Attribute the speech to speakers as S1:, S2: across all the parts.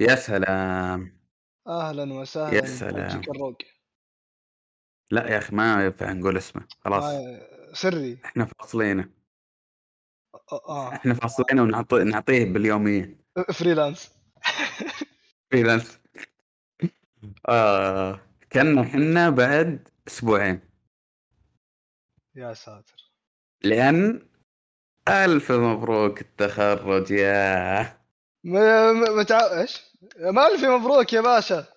S1: يا سلام!
S2: أهلًا
S1: يا
S2: وسهلًا
S1: سلام!
S2: أرجيك الروج.
S1: لأ يا أخي ما ينفع نقول اسمه،
S2: ما
S1: خلاص.
S2: سري.
S1: إحنا فاصلينه.
S2: أ أ آه.
S1: إحنا فاصلينه ونعط نعطيه باليومية.
S2: أ freelance.
S1: freelance. آه، كنا حنا بعد أسبوعين.
S2: يا ساتر!
S1: لأن ألف مبروك التخرُّج ياه!
S2: م م متع إيش؟ م ألف مبروك يا باشا!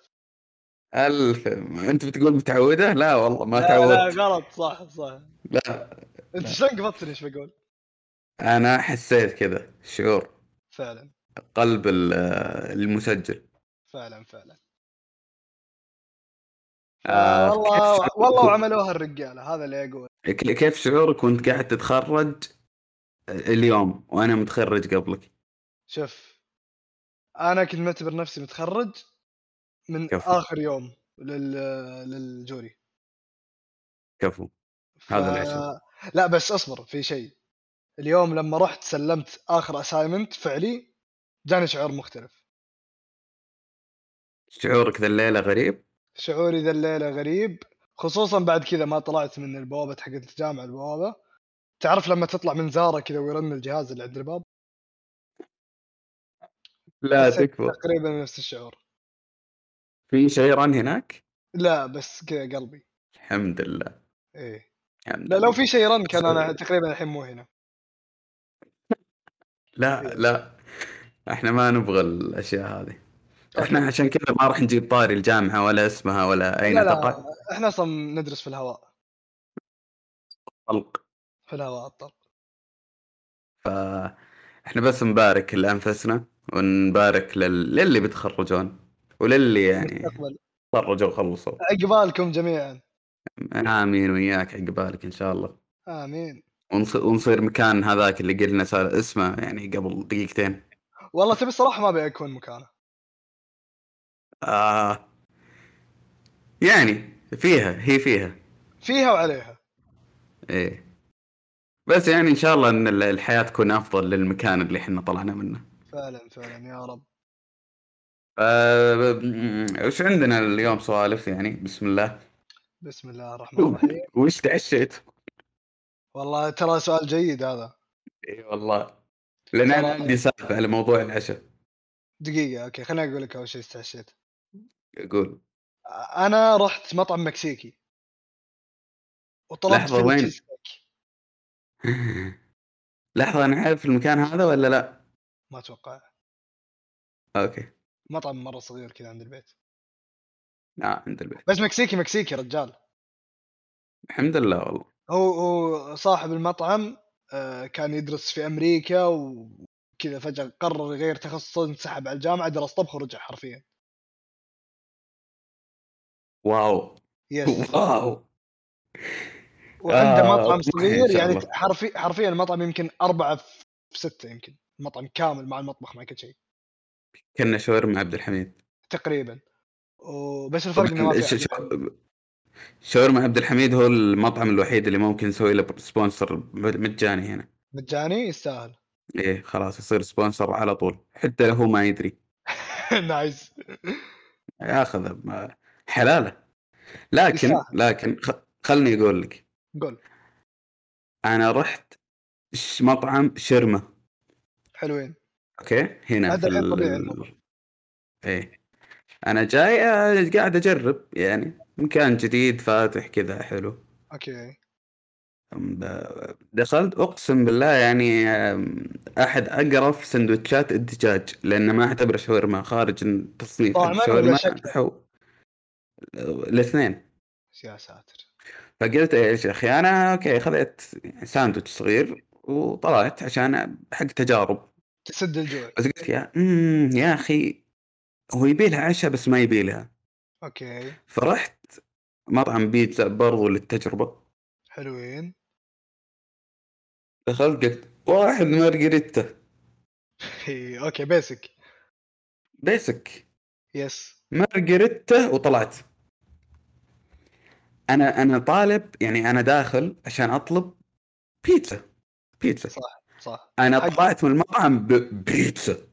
S1: ألف م أنت بتقول متعوّدة؟ لا والله ما
S2: لا، لا،
S1: تعوّدت.
S2: غلط صح، صح.
S1: لأ،
S2: أنت
S1: لأ.
S2: شلون قبضتني إيش باقول؟
S1: أنا حسّيت كذا الشعور.
S2: فعلًا.
S1: قلب ال المسجّل.
S2: فعلًا، فعلًا.
S1: آآ، كيف
S2: فوالله وع آه، والله
S1: شعورك و
S2: وعملوها الرجالة، هذا اللي أقوله.
S1: ك كيف شعورك وأنت قاعد تتخرّج أ اليوم وأنا متخرّج قبلك؟
S2: شوف، أنا كنت معتبر نفسي متخرّج من
S1: كفو.
S2: آخر يوم لل للجوري.
S1: كفو،
S2: ف
S1: هذا العشاء.
S2: لأ بس أصبر في شيء، اليوم لمّا رُحت سلّمت آخر assignment فعلي، جاني شعور مختلف.
S1: شعورك ذا الليلة غريب؟
S2: شعوري ذا الليلة غريب، خصوصًا بعد كذا ما طلعت من البوابة حقة الجامعة البوابة، تعرف لمّا تطلع من زارة كذا ويرن الجهاز اللي عند الباب؟
S1: لا
S2: حسّيت
S1: تكفى.
S2: تقريبًا نفس الشعور.
S1: في شيران هناك؟
S2: لأ، بس كذا قلبي.
S1: الحمد لله.
S2: إيه،
S1: الحمد
S2: لأ لو
S1: لله.
S2: في شيران
S1: بس
S2: كان أنا تقريبًا الحين مو هنا.
S1: لأ،
S2: إيه.
S1: لأ، إحنا ما نبغى الأشياء هذه. إحنا
S2: أوكي.
S1: عشان كذا ما راح نجيب طاري الجامعة ولا اسمها ولا
S2: لا،
S1: أين
S2: لا،
S1: تقع.
S2: إحنا أصلًا ندرس في الهواء.
S1: طلق.
S2: في الهواء الطلق.
S1: فإحنا بس نبارك لأنفسنا، ونبارك لل للي بيتخرّجون، وللي يعني
S2: المستقبل.
S1: تخرّجوا وخلّصوا.
S2: عقبالكم جميعًا.
S1: آمين وإياك عقبالك إن شاء الله.
S2: آمين.
S1: ونص ونصير مكان هذاك اللي قلنا س اسمه يعني قبل دقيقتين.
S2: والله تبي الصراحة ما أبي أكون مكانه.
S1: آه. يعني فيها، هي فيها.
S2: فيها وعليها.
S1: إيه. بس يعني إن شاء الله إن ال الحياة تكون أفضل للمكان اللي إحنا طلعنا منه.
S2: فعلًا، فعلًا، يا رب.
S1: آآ، امم، وش عندنا اليوم سوالف يعني بسم الله؟
S2: بسم الله الرحمن الرحيم.
S1: وش تعشيتوا؟
S2: والله ترى سؤال جيد هذا.
S1: إي والله، لأن أنا
S2: ترى
S1: عندي سالفة على موضوع العشا.
S2: دقيقة أوكي، خليني أقول لك أول شي استعشيت.
S1: قُل.
S2: أ أنا رُحت مطعم مكسيكي. وطلبت
S1: لحظة
S2: فيه
S1: وين؟
S2: تشيز كيك.
S1: لحظة أنا عارف المكان هذا والّا لأ؟
S2: ما أتوقع.
S1: أوكي.
S2: مطعم مرة صغير كذا عند البيت.
S1: آه، عند البيت.
S2: بس مكسيكي، مكسيكي رجال.
S1: الحمد لله والله.
S2: هو هو صاحب المطعم آآ، كان يدرس في أمريكا وكذا فجأة قرر يغيّر تخصصه، انسحب على الجامعة، درس طبخ ورجع حرفيًا.
S1: واو!
S2: Yes.
S1: واو!
S2: وعنده
S1: آه،
S2: مطعم
S1: طموحي إن
S2: صغير
S1: شاء
S2: يعني ت
S1: الله.
S2: حرفي حرفيًا المطعم يمكن 4 في 6 يمكن، مطعم كامل مع المطبخ مع كل شيء.
S1: كأنه شاورما عبد الحميد.
S2: تقريبًا، وبس الفرق إنه
S1: طبعًا
S2: ما في يعني
S1: الش
S2: أحد
S1: ش
S2: يعرف.
S1: شاورما عبد الحميد هو المطعم الوحيد اللي ممكن نسوي له sponsor م مجاني هنا.
S2: مجاني؟ يستاهل.
S1: إيه، خلاص يصير sponsor على طول، حتى هو ما يدري.
S2: nice.
S1: ياخذه ب حلاله. لكن،
S2: يستاهل.
S1: لكن خ خلني أقول لك.
S2: قُل.
S1: أنا رُحت ش مطعم شرمة.
S2: حلوين.
S1: أوكي، هنا
S2: هذا
S1: في
S2: الحين طبيعي الموضوع.
S1: ال إيه، أنا جاي آآ، قاعد أجرّب يعني مكان جديد فاتح كذا حلو.
S2: أوكي.
S1: امم، ب دخلت أقسم بالله يعني آمم، أحد أقرف سندويتشات الدجاج، لأنه ما أعتبره شاورما خارج من تصنيف
S2: طاعمًا والّا
S1: الشاورما
S2: شكلًا؟
S1: حو الإثنين.
S2: يا ساتر!
S1: فقلت إيش يا أخي أنا أوكي خذيت ساندويتش صغير وطلعت عشان حق تجارب.
S2: تسد الجوع.
S1: بس قلت يا إمم، يا أخي هو يبي لها عشا بس ما يبي لها.
S2: أوكي.
S1: فرُحت مطعم بيتزا برضه للتجربة.
S2: حلوين.
S1: دخلت قلت 1 مارجريتا.
S2: أوكي basic.
S1: basic.
S2: Yes.
S1: مارجريتا وطلعت. أنا أنا طالب يعني أنا داخل عشان أطلب بيتزا، بيتزا.
S2: صح، صح،
S1: أنا
S2: حقك.
S1: طلعت من المطعم ببيتزا.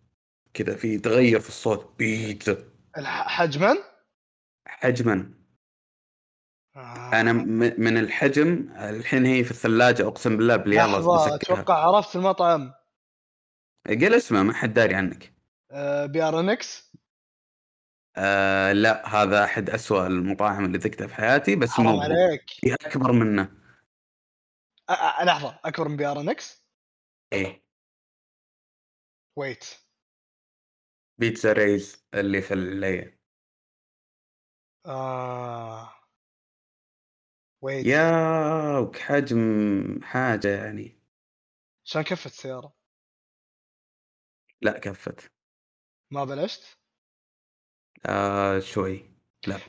S1: كذا في تغير في الصوت بيتزا
S2: الح- حجما
S1: حجما
S2: آه.
S1: انا م- من الحجم الحين هي في الثلاجه اقسم بالله باليابا
S2: لحظة
S1: بسكرها
S2: اتوقع عرفت المطعم
S1: قل اسمه ما حد داري عنك
S2: بي ار ان اكس
S1: آه لا هذا احد اسوأ المطاعم اللي ذقتها في حياتي بس
S2: حرام
S1: مو
S2: عليك
S1: في اكبر منه
S2: آه، آه، لحظة اكبر من بي ار ان اكس
S1: ايه
S2: ويت
S1: بيتزا ريز اللي في الليل
S2: آه. ويت
S1: يا وكحجم حاجه يعني
S2: عشان كفت السيارة
S1: لا كفت
S2: ما بلشت
S1: آه شوي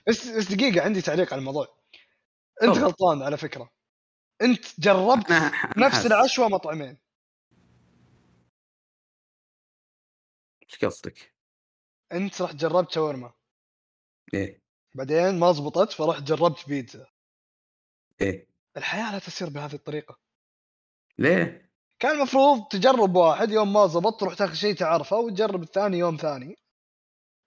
S2: بس بس دقيقة عندي تعليق على الموضوع انت
S1: تفضل.
S2: غلطان على فكرة انت جربت
S1: أنا ح- أنا
S2: نفس
S1: حاسس.
S2: العشوة مطعمين
S1: ايش قصدك؟
S2: انت رحت جربت شاورما
S1: ايه
S2: بعدين ما زبطت فرحت جربت بيتزا
S1: ايه
S2: الحياة لا تسير بهذه الطريقة
S1: ليه؟
S2: كان المفروض تجرب واحد يوم ما زبط تروح تاخذ شيء تعرفه وتجرب الثاني يوم ثاني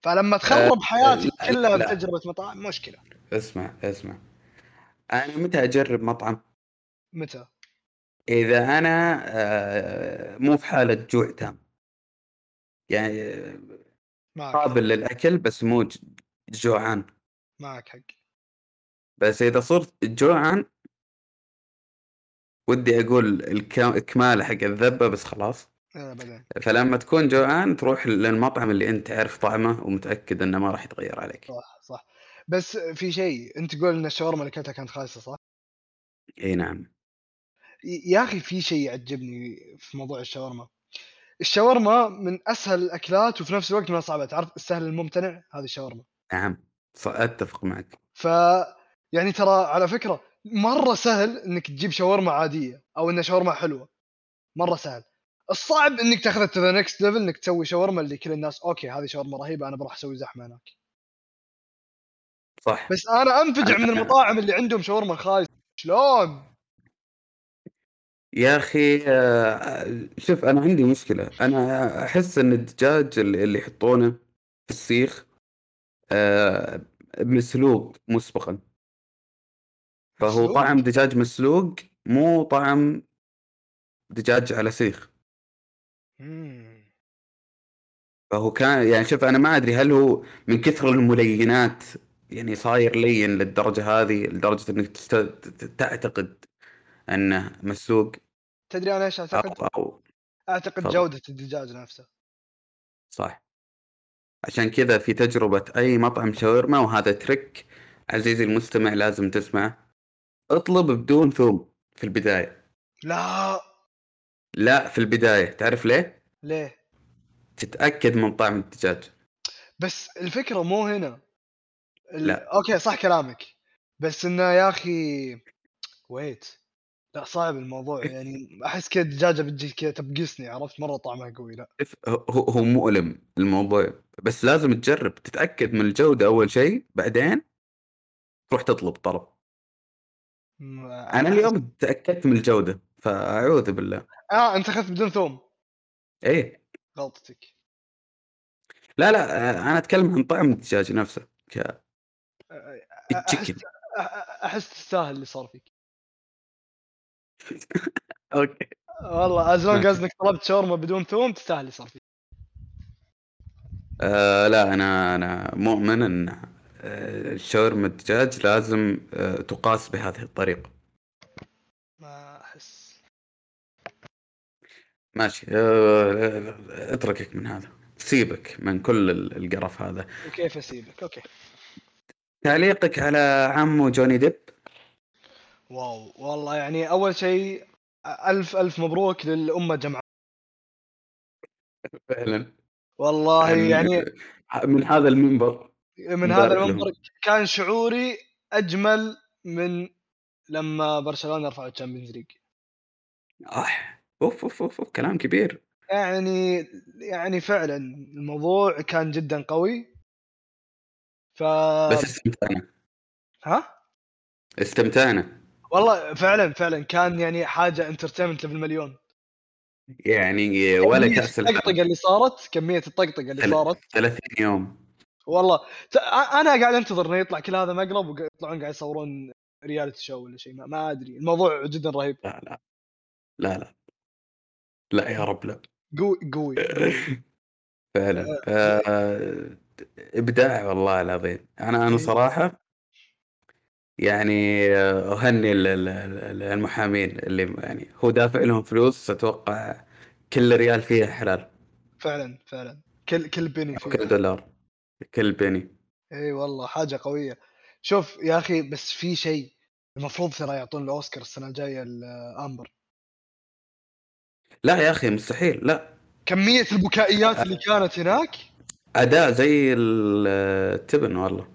S2: فلما تخرب حياتك
S1: أه، لا،
S2: كلها
S1: لا.
S2: بتجربة مطاعم مشكلة
S1: اسمع اسمع انا متى اجرب مطعم؟
S2: متى؟
S1: اذا انا آه مو في حاله جوع تام يعني آه،
S2: معك
S1: قابل للاكل بس مو ج- جوعان
S2: معك حق
S1: بس اذا صرت جوعان ودي اقول الكا- الكمال حق الذبه بس خلاص
S2: إيه، بعدين
S1: فلما تكون جوعان تروح للمطعم اللي انت عارف طعمه ومتاكد انه ما راح يتغير عليك
S2: صح صح بس في شيء انت تقول ان الشاورما اللي اكلتها كانت خايسه صح؟
S1: اي نعم
S2: ي- يا اخي في شيء يعجبني في موضوع الشاورما الشاورما من اسهل الاكلات وفي نفس الوقت من اصعبها تعرف السهل الممتنع هذه الشاورما
S1: نعم ص- اتفق معك
S2: ف يعني ترى على فكره مره سهل انك تجيب شاورما عاديه او ان شاورما حلوه مره سهل الصعب انك تاخذها تو ذا نكست ليفل انك تسوي شاورما اللي كل الناس اوكي هذه شاورما رهيبه انا بروح اسوي زحمه هناك
S1: صح
S2: بس انا انفجع من المطاعم اللي عندهم شاورما خايسه شلون؟
S1: يا اخي آه، شوف انا عندي مشكله انا احس ان الدجاج اللي اللي يحطونه في السيخ آه، مسلوق مسبقا فهو
S2: مسلوق؟
S1: طعم دجاج مسلوق مو طعم دجاج على سيخ
S2: مم.
S1: فهو كان يعني شوف انا ما ادري هل هو من كثر الملينات يعني صاير لين للدرجه هذه لدرجه انك تست... تعتقد انه مسلوق
S2: تدري انا ايش اعتقد؟
S1: او او
S2: اعتقد
S1: آه، تفضل.
S2: جوده الدجاج نفسه
S1: صح عشان كذا في تجربة أي مطعم شاورما وهذا ترك عزيزي المستمع لازم تسمعه اطلب بدون ثوم في البداية
S2: لا
S1: لا في البداية تعرف ليه؟
S2: ليه؟
S1: تتأكد من طعم الدجاج
S2: بس الفكره مو هنا ال-
S1: لا.
S2: اوكي صح كلامك بس انه يا اخي ويت لا صعب الموضوع
S1: إيه.
S2: يعني احس كذا الدجاجه بتجي كذا تبقسني عرفت مره طعمها قوي لا
S1: شوف، هو- هو هو مؤلم الموضوع بس لازم تجرب تتأكد من الجودة أول شيء بعدين تروح تطلب طلب
S2: م-
S1: أنا اليوم تأكدت من الجودة فأعوذ بالله
S2: اه انت اخذت بدون ثوم
S1: إيه
S2: غلطتك
S1: لا لا أنا أتكلم عن طعم الدجاج نفسه ك...
S2: أ-
S1: التشيكن
S2: أ- أ- احس تستاهل اللي صار فيك
S1: أوكي
S2: والله از لونج
S1: ماشي.
S2: انك طلبت شاورما بدون ثوم تستاهل اللي صار فيك
S1: آه لا انا انا مؤمن ان آه، الشاورما الدجاج لازم آه، تقاس بهذه الطريقه
S2: ما احس
S1: ماشي آه، اتركك من هذا سيبك من كل ال- القرف هذا
S2: وكيف اسيبك اوكي
S1: تعليقك على عمو جوني ديب
S2: واو والله يعني اول شيء الف الف مبروك للامه جمعاء
S1: فعلا
S2: والله يعني
S1: من هذا المنبر
S2: من
S1: مبارك
S2: هذا
S1: لهم.
S2: المنبر كان شعوري اجمل من لما برشلونه رفعوا الشامبيونز ليج
S1: اح اوف اوف اوف آه. أوف، كلام كبير
S2: يعني يعني فعلا الموضوع كان جدا قوي ف
S1: بس استمتعنا
S2: ها
S1: استمتعنا
S2: والله فعلا فعلا كان يعني حاجه انترتينمنت ليفل مليون
S1: يعني ولا
S2: كمية
S1: كاس العالم
S2: الطقطقه اللي صارت كميه الطقطقه اللي
S1: ال-
S2: صارت
S1: 30 يوم
S2: والله ت- أ- انا قاعد انتظر انه يطلع كل هذا مقلب ويطلعون قاعد يصورون رياليتي شو ولا شيء ما, ما ادري الموضوع جدا رهيب
S1: لا لا لا لا لا يا رب لا
S2: قوي قوي
S1: فعلا آه، ابداع والله العظيم انا انا صراحه يعني آه، اهني ال- ال- ال- المحامين اللي يعني هو دافع لهم فلوس اتوقع كل ريال فيها حلال
S2: فعلا فعلا كل كل بني
S1: أو كل
S2: فيه
S1: دولار كل بني
S2: اي والله حاجه قويه شوف يا اخي بس في شيء المفروض ترى يعطون الاوسكار السنه الجايه لامبر
S1: لا يا اخي مستحيل لا
S2: كميه البكائيات اللي كانت هناك
S1: اداء زي ال- التبن والله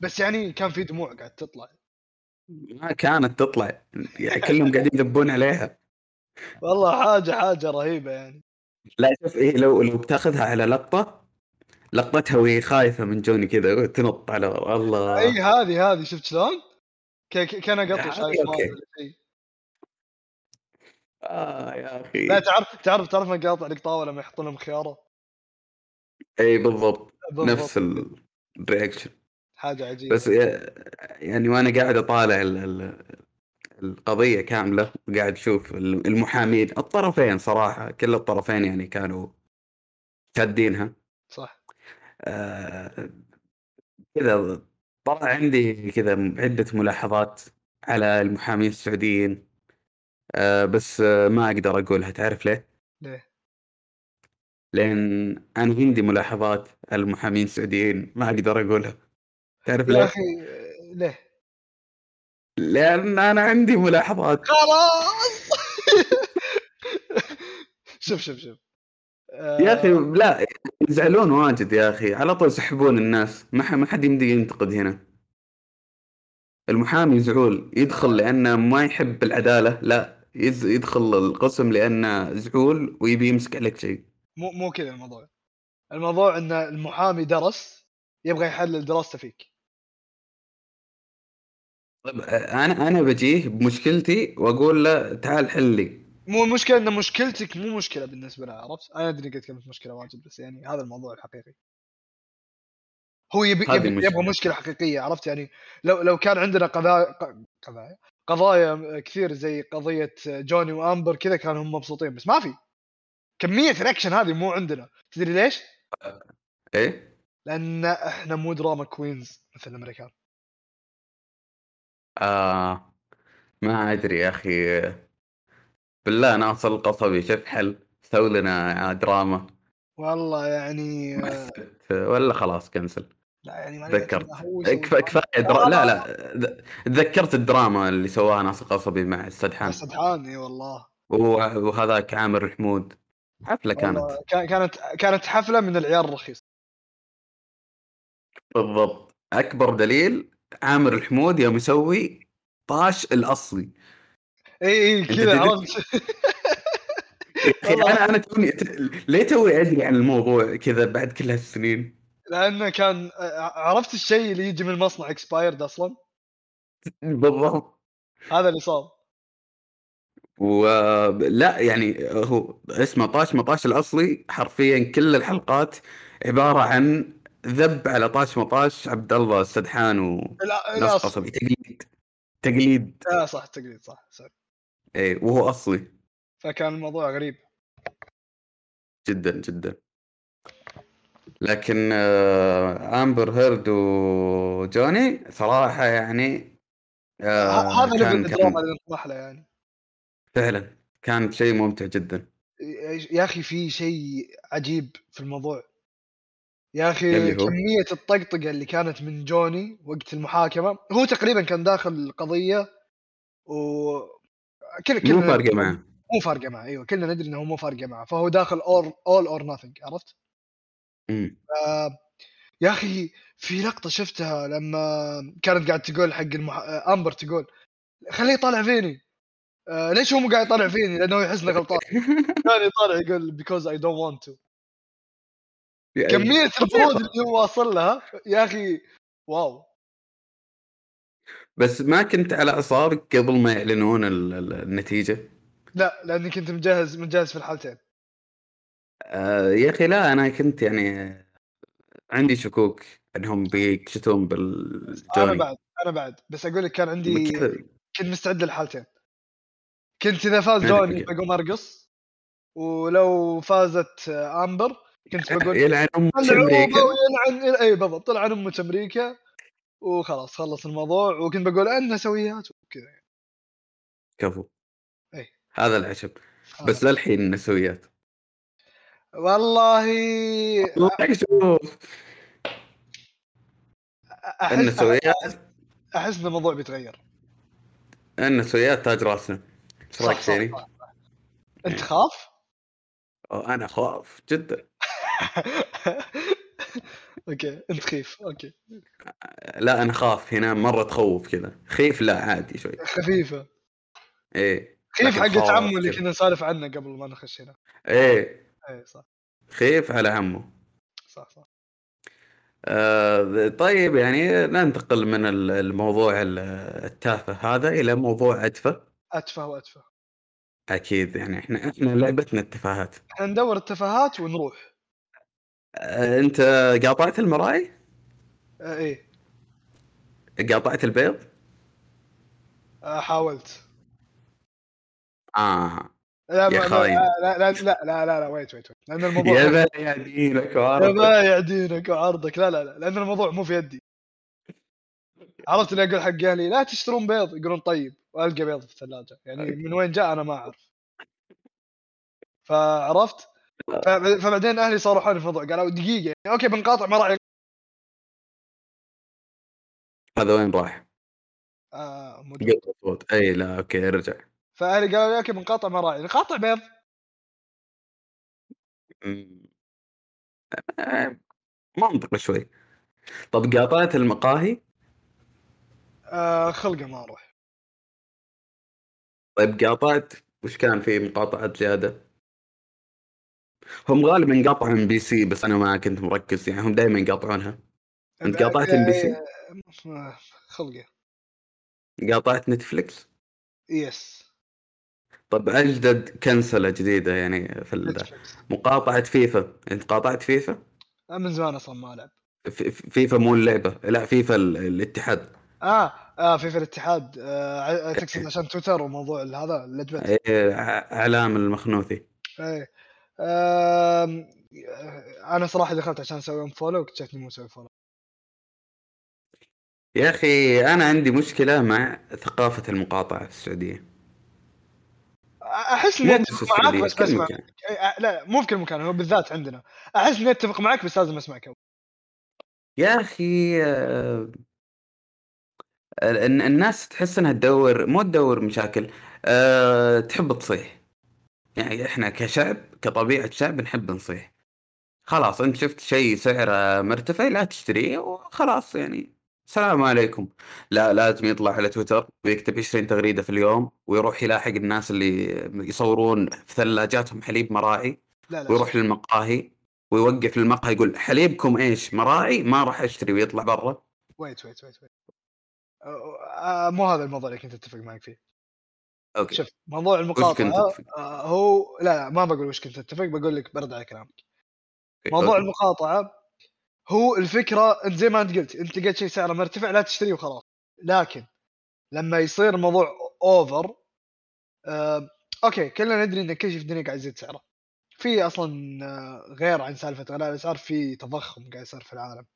S2: بس يعني كان في دموع قاعد تطلع
S1: ما كانت تطلع يعني كلهم قاعدين يذبون عليها
S2: والله حاجه حاجه رهيبه يعني
S1: لا شوف ايه لو لو بتاخذها على لقطه لقطتها وهي خايفه من جوني كذا تنط على ورا. الله
S2: اي هذه هذه شفت شلون؟ ك- ك- كان
S1: هذه
S2: اقطش شايف
S1: يعني أوكي.
S2: ولا شيء
S1: آه يا اخي
S2: لا تعرف تعرف تعرف مقاطع القطاوه لما يحطون لهم خياره
S1: اي بالضبط
S2: بالضبط.
S1: نفس ال- الرياكشن
S2: حاجه عجيبه
S1: بس يا- يعني وانا قاعد اطالع ال- ال- القضيه كامله وقاعد اشوف ال- المحامين الطرفين صراحه كل الطرفين يعني كانوا شادينها
S2: صح
S1: آه، كذا طلع عندي كذا عدة ملاحظات على المحامين السعوديين آه، بس آه، ما أقدر أقولها تعرف ليه؟
S2: ليه؟
S1: لأن أنا عندي ملاحظات على المحامين السعوديين ما أقدر أقولها تعرف
S2: يا
S1: ليه؟
S2: اخي آه، ليه؟
S1: لأن أنا عندي ملاحظات
S2: خلاص شوف شوف شوف آه،
S1: يا أخي لا يزعلون واجد يا أخي على طول يسحبون الناس ما ح- ما حد يمدي ينتقد هنا المحامي زعول يدخل لأنه ما يحب العدالة لا يز- يدخل القسم لأنه زعول ويبي يمسك عليك شيء
S2: مو مو كذا الموضوع الموضوع ان المحامي درس يبغى يحلل دراسته فيك
S1: طيب انا انا بجيه بمشكلتي واقول له تعال حل لي
S2: مو المشكله ان مشكلتك مو مشكله بالنسبه لها عرفت؟ انا ادري قلت كلمه مشكله واجد بس يعني هذا الموضوع الحقيقي. هو يبي
S1: هذه
S2: يبي
S1: المشكلة.
S2: يبغى مشكله حقيقيه عرفت يعني لو لو كان عندنا قضايا قضايا قضايا كثير زي قضيه جوني وامبر كذا كانوا هم مبسوطين بس ما في كميه الاكشن هذه مو عندنا تدري ليش؟
S1: ايه
S2: لان احنا مو دراما كوينز مثل الامريكان
S1: آه ما ادري يا اخي بالله ناصر القصبي شوف حل سوي لنا دراما
S2: والله يعني
S1: ولا خلاص كنسل
S2: لا يعني ما
S1: تذكرت
S2: هو يسوي
S1: كفايه كفايه درا... لا لا تذكرت الدراما اللي سواها ناصر القصبي مع السدحان
S2: بس سبحان اي والله
S1: وه- وهذاك عامر الحمود حفله كانت
S2: والله كا- كانت كانت حفله من العيار الرخيص
S1: بالضبط اكبر دليل عامر الحمود يوم يسوي طاش الاصلي
S2: اي اي كذا
S1: تدري-
S2: عرفت
S1: يا اخي انا انا توني ليه توي ادري عن الموضوع كذا بعد كل هالسنين؟
S2: لانه كان ع- عرفت الشيء اللي يجي من المصنع اكسبايرد اصلا
S1: بالضبط
S2: هذا اللي صار
S1: ولا يعني هو اسمه طاش مطاش الاصلي حرفيا كل الحلقات عباره عن ذب على طاش مطاش عبد الله السدحان وناس
S2: لا لا صح
S1: قصبي تقليد تقليد
S2: لا صح تقليد صح سوري
S1: اي إيه، وهو اصلي
S2: فكان الموضوع غريب
S1: جدا جدا لكن آه، امبر هيرد وجوني صراحه يعني
S2: ه-
S1: آه، كان-
S2: هذا ليفل
S1: كان-
S2: الدراما اللي نطمح له يعني
S1: فعلا كان شيء ممتع جدا
S2: ي- يا اخي في شيء عجيب في الموضوع يا اخي
S1: اللي هو؟
S2: كميه الطقطقه اللي كانت من جوني وقت المحاكمه هو تقريبا كان داخل القضيه و كل
S1: مو فارقه معه
S2: مو فارقه معه ايوه كلنا ندري انه هو مو فارقه معه فهو داخل اول اول اور ناثينج عرفت؟
S1: أمم.
S2: آه، يا اخي في لقطه شفتها لما كانت قاعد تقول حق المح... آه، امبر تقول خليه يطالع فيني آه، ليش هو مو قاعد يطالع فيني؟ لانه يحس انه غلطان كان يطالع يقول بيكوز اي دونت ونت تو
S1: يعني أيوة.
S2: كميه البرود اللي هو واصل لها يا اخي واو
S1: بس ما كنت على اعصابك قبل ما يعلنون ال- ال- النتيجه
S2: لا لاني كنت مجهز مجهز في الحالتين
S1: آه يا اخي لا انا كنت يعني عندي شكوك انهم بيكشتون
S2: انا
S1: بالجوني
S2: بعد انا بعد بس اقول لك كان عندي
S1: بكذا-
S2: كنت مستعد للحالتين كنت اذا فاز
S1: عندك
S2: جوني
S1: مجال.
S2: بقوم ارقص ولو فازت آه، امبر كنت بقول
S1: يلعن امك
S2: طلع
S1: امريكا
S2: امريكا ويلعن اي بالضبط طلع عن امك امريكا وخلاص خلص الموضوع وكنت بقول انا سويات وكذا يعني.
S1: كفو
S2: إيه.
S1: هذا العشب
S2: آه.
S1: بس للحين نسويات
S2: والله إيه،
S1: والله شوف
S2: احس
S1: النسويات
S2: احس ان الموضوع بيتغير
S1: النسويات تاج راسنا ايش رايك سيني؟
S2: انت خاف؟
S1: انا خاف جدا
S2: اوكي انت خيف اوكي
S1: لا انا خاف هنا مره تخوف كذا خيف لا عادي شوي
S2: خفيفه
S1: ايه
S2: خيف
S1: لكن
S2: حقت
S1: خاف
S2: عمو اللي
S1: كذا.
S2: كنا نسولف عنه قبل ما نخش هنا
S1: ايه
S2: اي صح
S1: خيف على عمه
S2: صح صح
S1: آه طيب يعني ننتقل من ال- الموضوع ال- التافه هذا الى موضوع ادفى
S2: اتفه واتفه
S1: اكيد يعني احنا احنا لعبتنا التفاهات
S2: احنا ندور التفاهات ونروح
S1: آه انت قاطعت المراي؟
S2: آه، ايه
S1: قاطعت البيض؟
S2: آه، حاولت
S1: اه
S2: لا
S1: يا
S2: ما-
S1: خاين.
S2: لا لا لا لا لا لا ويت ويت ويت. لان الموضوع
S1: يا بلا يا دينك وعرفك.
S2: ما يعدينك وعرضك لا لا لا لان الموضوع مو في يدي عرفت اللي اقول حق اهلي لا تشترون بيض يقولون طيب والقى بيض في الثلاجه يعني
S1: أوكي.
S2: من وين جاء انا ما اعرف فعرفت فب- فبعدين اهلي صارحوني في الموضوع قالوا دقيقه يعني اوكي بنقاطع ما راح
S1: هذا وين راح؟
S2: آه مو جوا.
S1: قطع صوت اي لا اوكي ارجع
S2: فاهلي قالوا لي اوكي بنقاطع مراعي نقاطع بيض
S1: أمم. آه، منطقي شوي طب قاطعت المقاهي
S2: آه خلقه ما اروح
S1: طيب قاطعت وش كان في مقاطعات زياده؟ هم غالبا قاطعوا ام بي سي بس انا ما كنت مركز يعني هم دائما يقاطعونها انت
S2: طيب،
S1: قاطعت ام بي سي؟
S2: آه، خلقه
S1: قاطعت نتفلكس؟
S2: يس
S1: طب اجدد كنسله جديده يعني في ال-
S2: Netflix.
S1: مقاطعه فيفا انت قاطعت فيفا؟
S2: آه، من زمان اصلا ما العب
S1: في- في- فيفا مو اللعبه لا فيفا ال- الاتحاد
S2: اه اه في في الاتحاد آه ع- تقصد عشان تويتر وموضوع هذا اللجبه
S1: إيه، ع- علام المخنوثي
S2: ايه آم، انا صراحه دخلت عشان اسوي ام فولو واكتشفتني مو مسوي فولو
S1: يا اخي انا عندي مشكله مع ثقافه المقاطعه في السعوديه
S2: احس اني
S1: مو
S2: اتفق
S1: بس
S2: يعني معاك
S1: السعودية،
S2: بس
S1: في كل
S2: بسمع
S1: مكان.
S2: لا لا مو في كل مكان هو بالذات عندنا احس اني اتفق معك بس لازم اسمعك أول.
S1: يا اخي آه، ال- ال- الناس تحس انها تدور مو تدور مشاكل أه تحب تصيح يعني احنا كشعب كطبيعه شعب نحب نصيح خلاص انت شفت شيء سعره مرتفع لا تشتريه وخلاص يعني السلام عليكم لا لازم يطلع على تويتر ويكتب 20 تغريده في اليوم ويروح يلاحق الناس اللي يصورون في ثلاجاتهم حليب مراعي
S2: لا لا
S1: ويروح للمقاهي ويوقف المقهى يقول حليبكم ايش مراعي ما راح اشتري ويطلع برا
S2: ويت ويت ويت ويت آه، مو هذا الموضوع اللي كنت اتفق معك فيه
S1: اوكي
S2: شوف موضوع
S1: وش
S2: المقاطعه
S1: كنت تفكر؟
S2: آه، هو لا لا ما بقول وش كنت اتفق بقول لك برد على كلامك موضوع
S1: إيه، أوكي.
S2: المقاطعه هو الفكره انت زي ما انت قلت انت لقيت شيء سعره مرتفع لا تشتريه وخلاص لكن لما يصير الموضوع اوفر آه اوكي كلنا ندري ان كل شيء في الدنيا قاعد يزيد سعره في اصلا آه، غير عن سالفه غلاء الاسعار في تضخم قاعد يصير في العالم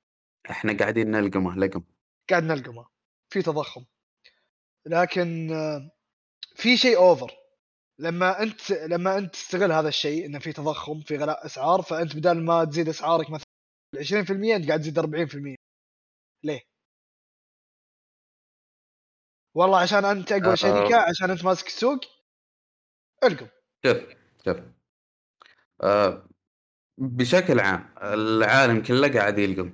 S1: احنا قاعدين نلقمه لقم
S2: قاعد نلقمه في تضخم لكن آه، في شيء اوفر لما انت لما انت تستغل هذا الشيء انه في تضخم في غلاء اسعار فانت بدل ما تزيد اسعارك مثلا 20% انت قاعد تزيد 40% ليه؟ والله عشان انت اقوى
S1: آه.
S2: شركه عشان انت ماسك السوق القم
S1: شوف شوف آه بشكل عام العالم كله قاعد يلقم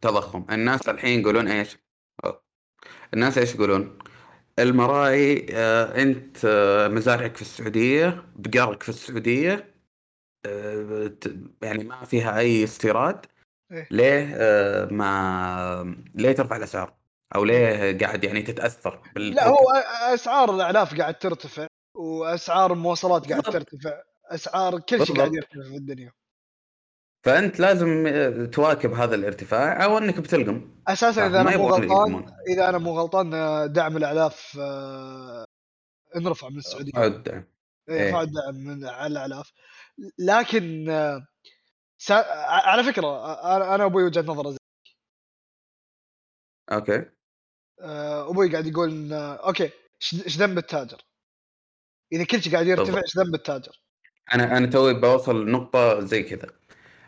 S1: تضخم الناس الحين يقولون ايش آه، الناس ايش يقولون المراعي آه انت آه مزارعك في السعوديه بقرك في السعوديه آه ت- يعني ما فيها اي استيراد
S2: إيه.
S1: ليه آه ما ليه ترفع الاسعار او ليه قاعد يعني تتاثر
S2: لا هو أ- اسعار الاعلاف قاعد ترتفع واسعار المواصلات قاعد
S1: بالضبط.
S2: ترتفع اسعار كل شيء
S1: بالضبط.
S2: قاعد يرتفع في الدنيا
S1: فانت لازم آه، تواكب هذا الارتفاع او انك بتلقم
S2: اساسا اذا
S1: يعني ما
S2: انا مو
S1: يبغون
S2: غلطان
S1: يلقمون.
S2: اذا انا مو غلطان آه، دعم الاعلاف آه، انرفع من السعوديه
S1: عد. إيه.
S2: يرفع الدعم من على الالاف لكن آه، سا... ع- على فكره آه، انا انا ابوي وجهه نظره زي
S1: اوكي
S2: آه، ابوي قاعد يقول إن، آه، اوكي إيش- ايش ذنب التاجر؟ اذا كل شيء قاعد يرتفع
S1: بالضبط.
S2: ايش ذنب التاجر؟
S1: انا انا توي بوصل نقطه زي كذا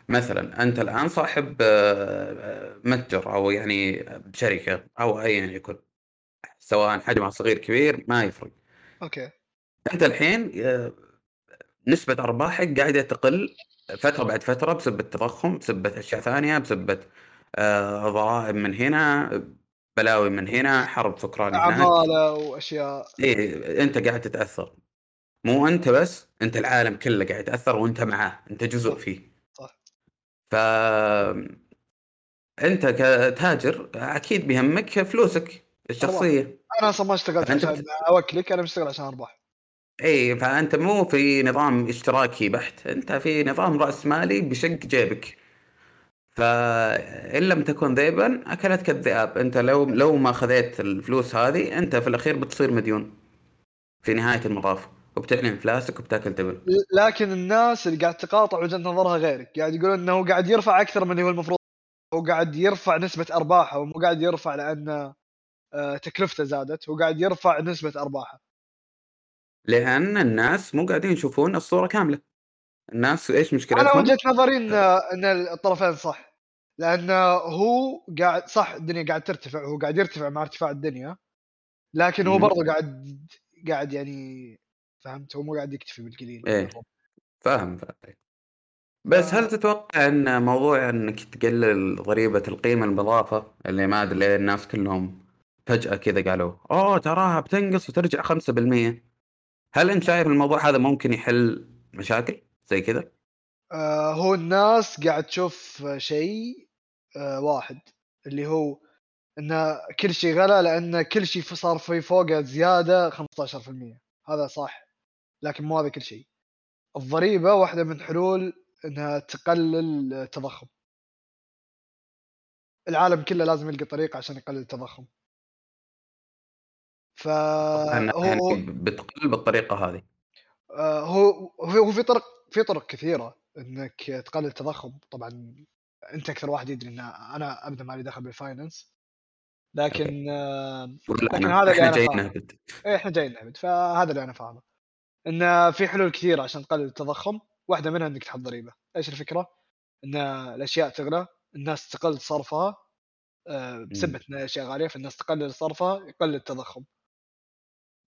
S1: مثلا انت الان صاحب آه، متجر او يعني شركه او ايا يكن سواء حجمها صغير كبير ما يفرق
S2: اوكي
S1: انت الحين آه، نسبه ارباحك قاعده تقل فتره بعد فتره بسبب التضخم بسبب اشياء ثانيه بسبب آه، ضرائب من هنا بلاوي من هنا حرب في اوكرانيا هناك
S2: عماله واشياء
S1: إيه انت قاعد تتاثر مو انت بس انت العالم كله قاعد يتاثر وانت معاه انت جزء
S2: صح.
S1: فيه
S2: صح.
S1: ف انت كتاجر اكيد بيهمك فلوسك الشخصيه
S2: انا اصلا ما اشتغلت
S1: فأنت
S2: عشان
S1: بت-
S2: اوكلك انا بشتغل عشان اربح
S1: اي فانت مو في نظام اشتراكي بحت انت في نظام راس مالي بشق جيبك فان لم تكن ذئبا اكلتك الذئاب انت لو لو ما خذيت الفلوس هذه انت في الاخير بتصير مديون في نهايه المطاف وبتعلن افلاسك وبتاكل تبن
S2: ل- لكن الناس اللي قاعد تقاطع وجهه نظرها غيرك قاعد يقولون انه قاعد يرفع اكثر من اللي هو المفروض هو قاعد يرفع نسبه ارباحه ومو قاعد يرفع لان آه، تكلفته زادت هو قاعد يرفع نسبه ارباحه
S1: لان الناس مو قاعدين يشوفون الصوره كامله الناس ايش
S2: انا
S1: مشكلتهم
S2: وجهه نظري ان ان الطرفين صح لان هو قاعد صح الدنيا قاعد ترتفع هو قاعد يرتفع مع ارتفاع الدنيا لكن هو
S1: مم.
S2: برضه قاعد قاعد يعني فهمت هو مو قاعد يكتفي بالقليل
S1: إيه. فاهم فاهم بس هل تتوقع ان موضوع انك تقلل ضريبه القيمه المضافه اللي ما ادري ليه الناس كلهم فجاه كذا قالوا اوه تراها بتنقص وترجع 5% هل انت شايف الموضوع هذا ممكن يحل مشاكل زي كذا؟
S2: آه، هو الناس قاعد تشوف شيء آه، واحد اللي هو ان كل شيء غلا لان كل شيء صار في فوقه زياده 15% هذا صح لكن مو هذا كل شيء الضريبه واحده من حلول انها تقلل التضخم العالم كله لازم يلقى طريقه عشان يقلل التضخم آه،
S1: أنا يعني
S2: فهو
S1: بتقل بالطريقه هذه
S2: آه، هو هو في طرق في طرق كثيره انك تقلل التضخم طبعا انت اكثر واحد يدري ان انا ابدا ما لي دخل بالفاينانس لكن آه،
S1: ولا
S2: لكن
S1: أنا-
S2: هذا
S1: احنا
S2: اللي أنا
S1: جايين
S2: فاهمه.
S1: نهبد
S2: إيه، احنا جايين نعبد فهذا اللي انا فاهمه ان في حلول كثيره عشان تقلل التضخم واحده منها انك تحط ضريبه ايش الفكره ان الاشياء تغلى الناس تقل صرفها آه، بسبب ان الاشياء غاليه فالناس تقلل صرفها يقل التضخم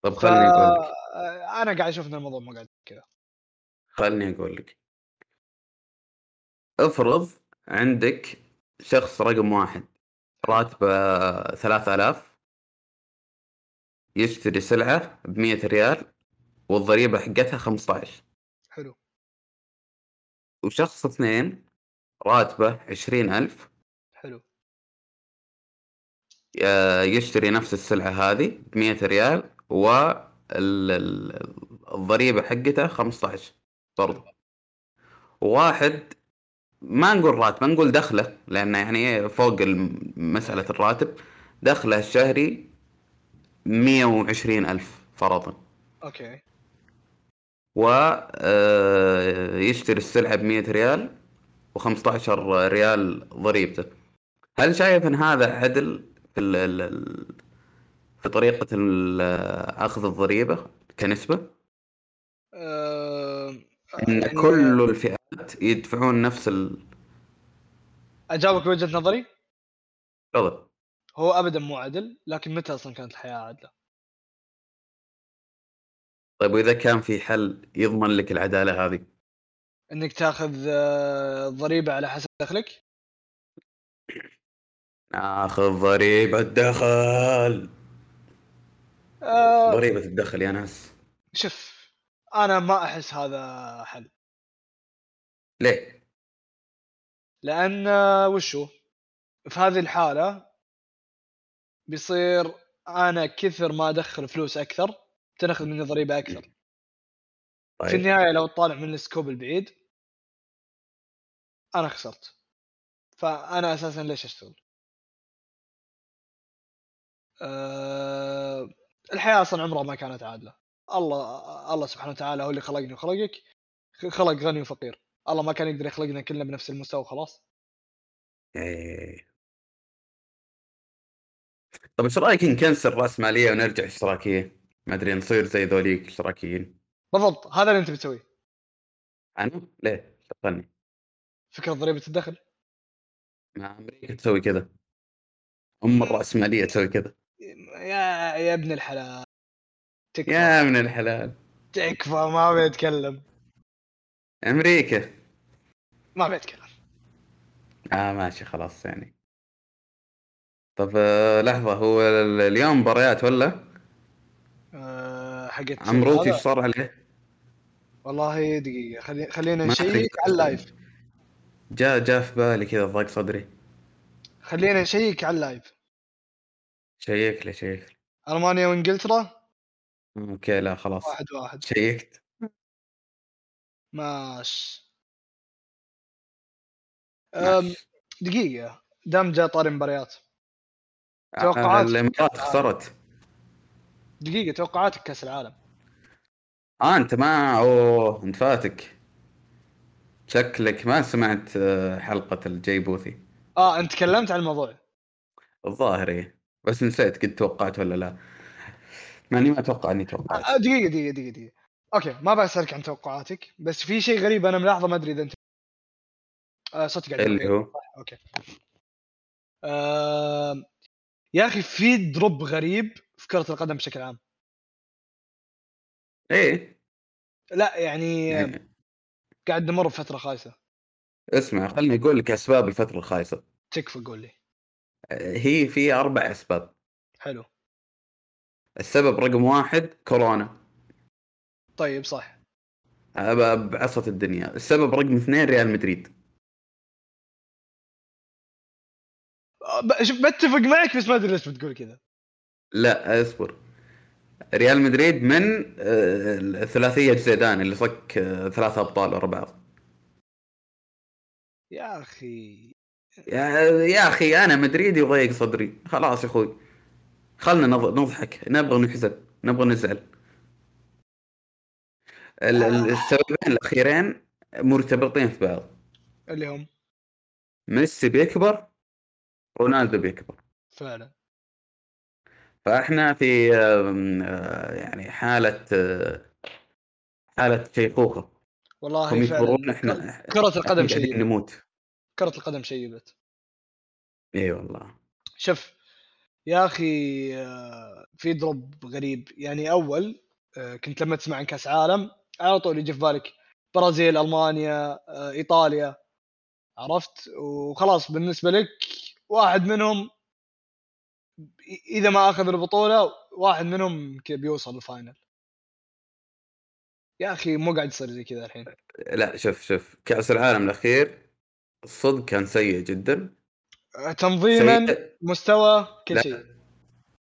S1: طب
S2: ف...
S1: خلني اقول لك
S2: آه، انا قاعد اشوف ان الموضوع مو قاعد كذا
S1: خلني اقول لك افرض عندك شخص رقم واحد راتبه 3000 يشتري سلعة ب 100 ريال والضريبة حقتها 15
S2: حلو
S1: وشخص اثنين راتبه 20000
S2: حلو
S1: آه، يشتري نفس السلعة هذه ب 100 ريال والضريبة حقتها 15 برضو وواحد ما نقول راتب نقول دخله لأنه يعني فوق الم- مسألة الراتب دخله الشهري 120 ألف فرضاً
S2: اوكي
S1: ويشتري السلعة آه، بمية ريال و15 ريال ضريبته هل شايف ان هذا عدل في ال- ال- ال- في طريقة ال- اخذ الضريبة كنسبة
S2: أه...
S1: ان
S2: يعني
S1: كل الفئات يدفعون نفس ال-
S2: اجاوبك بوجهه نظري
S1: الرضا
S2: هو ابدا مو عدل لكن متى اصلا كانت الحياه عادله
S1: طيب واذا كان في حل يضمن لك العدالة هذه
S2: انك تاخذ آه، ضريبه على حسب دخلك
S1: ناخذ ضريبة الدخل
S2: آه،
S1: ضريبة الدخل يا ناس
S2: شوف انا ما احس هذا حل
S1: ليه؟
S2: لان آه، وشو في هذه الحاله بيصير انا كثر ما ادخل فلوس اكثر تناخذ مني ضريبه اكثر
S1: طيب.
S2: في النهايه لو طالع من السكوب البعيد انا خسرت فانا اساسا ليش اشتغل؟ أه الحياه اصلا عمرها ما كانت عادله الله الله سبحانه وتعالى هو اللي خلقني وخلقك خلق غني وفقير الله ما كان يقدر يخلقنا كلنا بنفس المستوى خلاص
S1: إيه. طيب، طب ايش رايك نكنسل راسماليه ونرجع اشتراكيه؟ ما ادري نصير زي ذوليك اشتراكيين
S2: بالضبط هذا اللي انت بتسويه
S1: انا ليه؟ شغلني
S2: فكره ضريبه الدخل
S1: مع امريكا تسوي كذا ام
S2: إيه.
S1: الراسماليه تسوي كذا
S2: يا يا ابن الحلال تكفى
S1: يا من الحلال
S2: تكفى ما بيتكلم
S1: امريكا
S2: ما بيتكلم
S1: اه ماشي خلاص يعني طب آه، لحظه هو ال- اليوم مباريات ولا
S2: أه حقت
S1: عمروتي
S2: هذا.
S1: ايش صار عليه؟
S2: والله دقيقه خلي خلينا
S1: ما أدري.
S2: نشيك على اللايف
S1: جاء جاء في بالي كذا ضاق صدري
S2: خلينا نشيك على اللايف
S1: شيك لي شيك لي.
S2: المانيا وانجلترا
S1: اوكي لا خلاص
S2: واحد واحد
S1: شيكت
S2: ماشي أم،
S1: ماشي.
S2: دقيقه دام جاء طاري مباريات
S1: آه،
S2: توقعات.
S1: الامارات خسرت
S2: دقيقه توقعاتك كاس العالم
S1: اه انت ما اوه انت فاتك شكلك ما سمعت آه، حلقة الجاي بوثي
S2: اه انت تكلمت عن الموضوع
S1: الظاهر إيه. بس نسيت قد توقعت ولا لا مع اني ما اتوقع اني توقعت
S2: آه، دقيقه دقيقه دقيقه دقيقه اوكي ما بسالك عن توقعاتك بس في شيء غريب انا ملاحظه ما ادري اذا انت آه صوتي قاعد
S1: اللي هو
S2: اوكي آه يا اخي في دروب غريب في كره القدم بشكل عام
S1: ايه
S2: لا يعني
S1: يعني
S2: قاعد نمر بفتره خايسه
S1: اسمع خليني اقول لك اسباب الفترة الخايسة
S2: تكفى قول لي
S1: آه، هي في اربع اسباب
S2: حلو
S1: السبب رقم واحد كورونا
S2: طيب صح
S1: آه، بعصت الدنيا السبب رقم اثنين ريال مدريد
S2: آه، ب- شوف بتفق معك بس ما ادري ليش بتقول كذا
S1: لا اصبر ريال مدريد من آه، ثلاثية زيدان اللي صك آه، ثلاثة أبطال ورا بعض
S2: يا اخي
S1: يا يا أخي أنا مدريدي وضيق صدري خلاص يا أخوي خلنا نض- نضحك نبغى نحزن نبغى نزعل ال- ال- السببين الأخيرين مرتبطين في بعض
S2: اللي هم
S1: ميسي بيكبر رونالدو بيكبر
S2: فعلا
S1: فاحنا في آم، آه، يعني حالة آه، حالة شيخوخة هم
S2: والله فعلا
S1: يكبرون احنا
S2: كره القدم
S1: إحنا قاعدين
S2: شيبت
S1: نموت
S2: كره القدم شيبت
S1: اي إيه والله
S2: شوف يا اخي آه، في دروب غريب يعني اول آه، كنت لما تسمع عن كاس عالم على طول يجي في بالك برازيل المانيا آه، ايطاليا عرفت وخلاص بالنسبه لك واحد منهم إ- اذا ما اخذ البطوله واحد منهم ك- بيوصل الفاينل يا اخي مو قاعد يصير زي كذا الحين
S1: لا شوف شوف كأس العالم الأخير الصدق كان سيء جدا
S2: آه، تنظيما
S1: سيء
S2: مستوى كل
S1: لا.
S2: شيء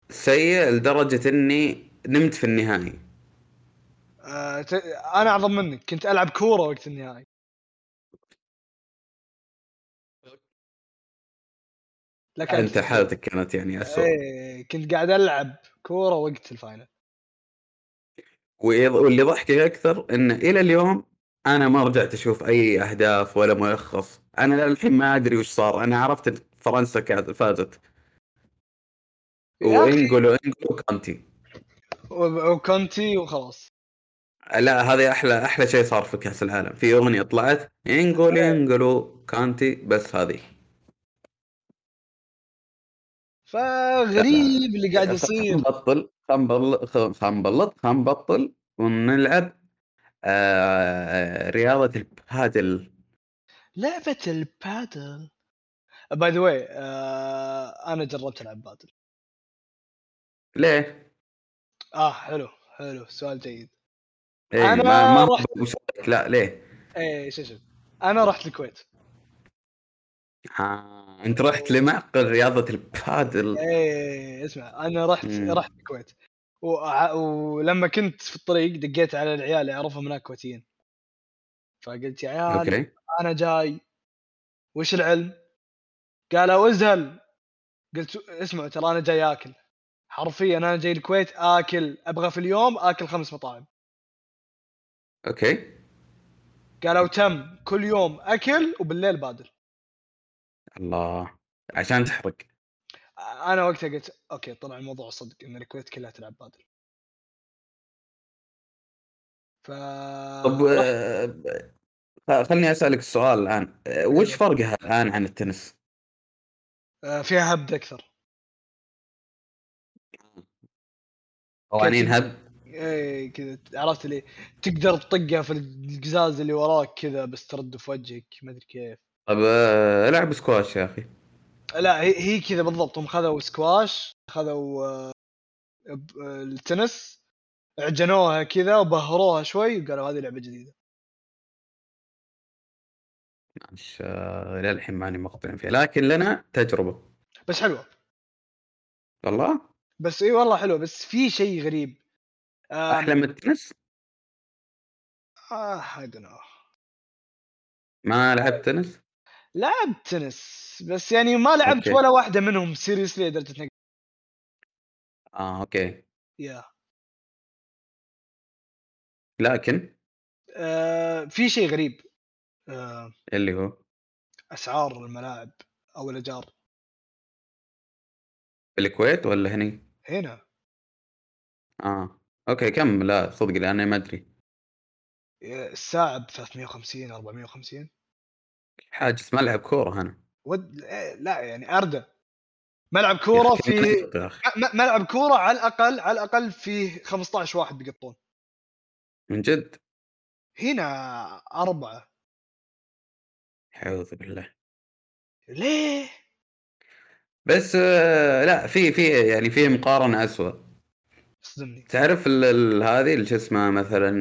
S1: سيء لدرجة إني نمت في النهائي
S2: آه، ت- انا اعظم منك كنت العب كوره وقت النهائي لك
S1: أنت حالتك كانت يعني أسوأ
S2: ايه إيه، كنت قاعد العب كوره وقت الفاينل
S1: وإيه- واللي ضحكك أكثر إن إلى اليوم أنا ما رجعت أشوف أي أهداف ولا ملخص أنا الحين ما أدري وش صار أنا عرفت إن فرنسا كانت- فازت
S2: يا أخي،
S1: وإنجلو إنجلو كانتي
S2: و- وكونتي وخلاص
S1: لا هذه احلى احلى شيء صار في كاس العالم في اغنيه طلعت انجول
S2: إيه.
S1: انجلو كانتي بس هذه
S2: فغريب اللي
S1: يعني
S2: قاعد يصير
S1: نبطل خنبل خنبلط خنبطل ونلعب آه رياضه البادل
S2: لعبه البادل باي ذا واي انا آه، جربت العب بادل
S1: ليه؟
S2: اه حلو حلو سؤال جيد
S1: إيه
S2: أنا
S1: ما ما
S2: رحت-
S1: مشارك لا ليه؟
S2: ايه شو شو انا رحت الكويت
S1: آه انت رحت لمعقل رياضه البادل
S2: ايه اسمع انا رحت
S1: مم.
S2: رحت الكويت وع- ولما كنت في الطريق دقيت على العيال اللي اعرفهم هناك كويتيين فقلت يا عيال
S1: اوكي
S2: انا جاي وش العلم؟ قالوا ازهل قلت اسمعوا ترى انا جاي اكل حرفيا انا جاي الكويت اكل ابغى في اليوم اكل خمس مطاعم
S1: اوكي
S2: قالوا تم كل يوم اكل وبالليل بادل
S1: الله عشان تحرق
S2: انا وقتها قلت اوكي طلع الموضوع صدق ان الكويت كلها تلعب بادل ف
S1: طب آه، خلني اسالك السؤال الان آه، وش فرقها الان عن التنس؟
S2: آه، فيها هبد اكثر
S1: قوانين
S2: كيف-
S1: هب
S2: ايه كذا عرفت اللي تقدر تطقها في القزاز اللي وراك كذا بس ترد في وجهك ما ادري كيف
S1: طب آه، العب سكواش يا اخي
S2: لا هي, هي كذا بالضبط هم خذوا سكواش خذوا آه، ب- آه، التنس عجنوها كذا وبهروها شوي وقالوا هذه لعبه جديده
S1: مش آه، للحين ماني مقتنع فيها لكن لنا تجربه
S2: بس حلوه
S1: والله
S2: بس اي والله حلوه بس في شيء غريب آه،
S1: احلى من التنس
S2: آه I don't know.
S1: ما لعبت تنس
S2: لعبت تنس بس يعني ما لعبت
S1: أوكي.
S2: ولا واحده منهم سيريسلي لدرجه انك
S1: اه اوكي
S2: يا
S1: لكن
S2: آه في شيء غريب آه
S1: اللي هو
S2: اسعار الملاعب او الايجار
S1: الكويت ولا هني
S2: هنا
S1: اه اوكي كم لا صدق لاني ما ادري
S2: آه، الساعه ب 350 450
S1: حاجز ملعب كوره انا
S2: ود... إيه، لا يعني اردى ملعب كوره في
S1: يا أخي، يعني
S2: م- م- ملعب كوره على الاقل على الاقل فيه 15 واحد بيقطون
S1: من جد
S2: هنا اربعه
S1: اعوذ بالله
S2: ليه؟
S1: بس آه، لا في في يعني في مقارنه اسوء
S2: صدمني
S1: تعرف ال- ال- هذه اللي شو اسمها مثلا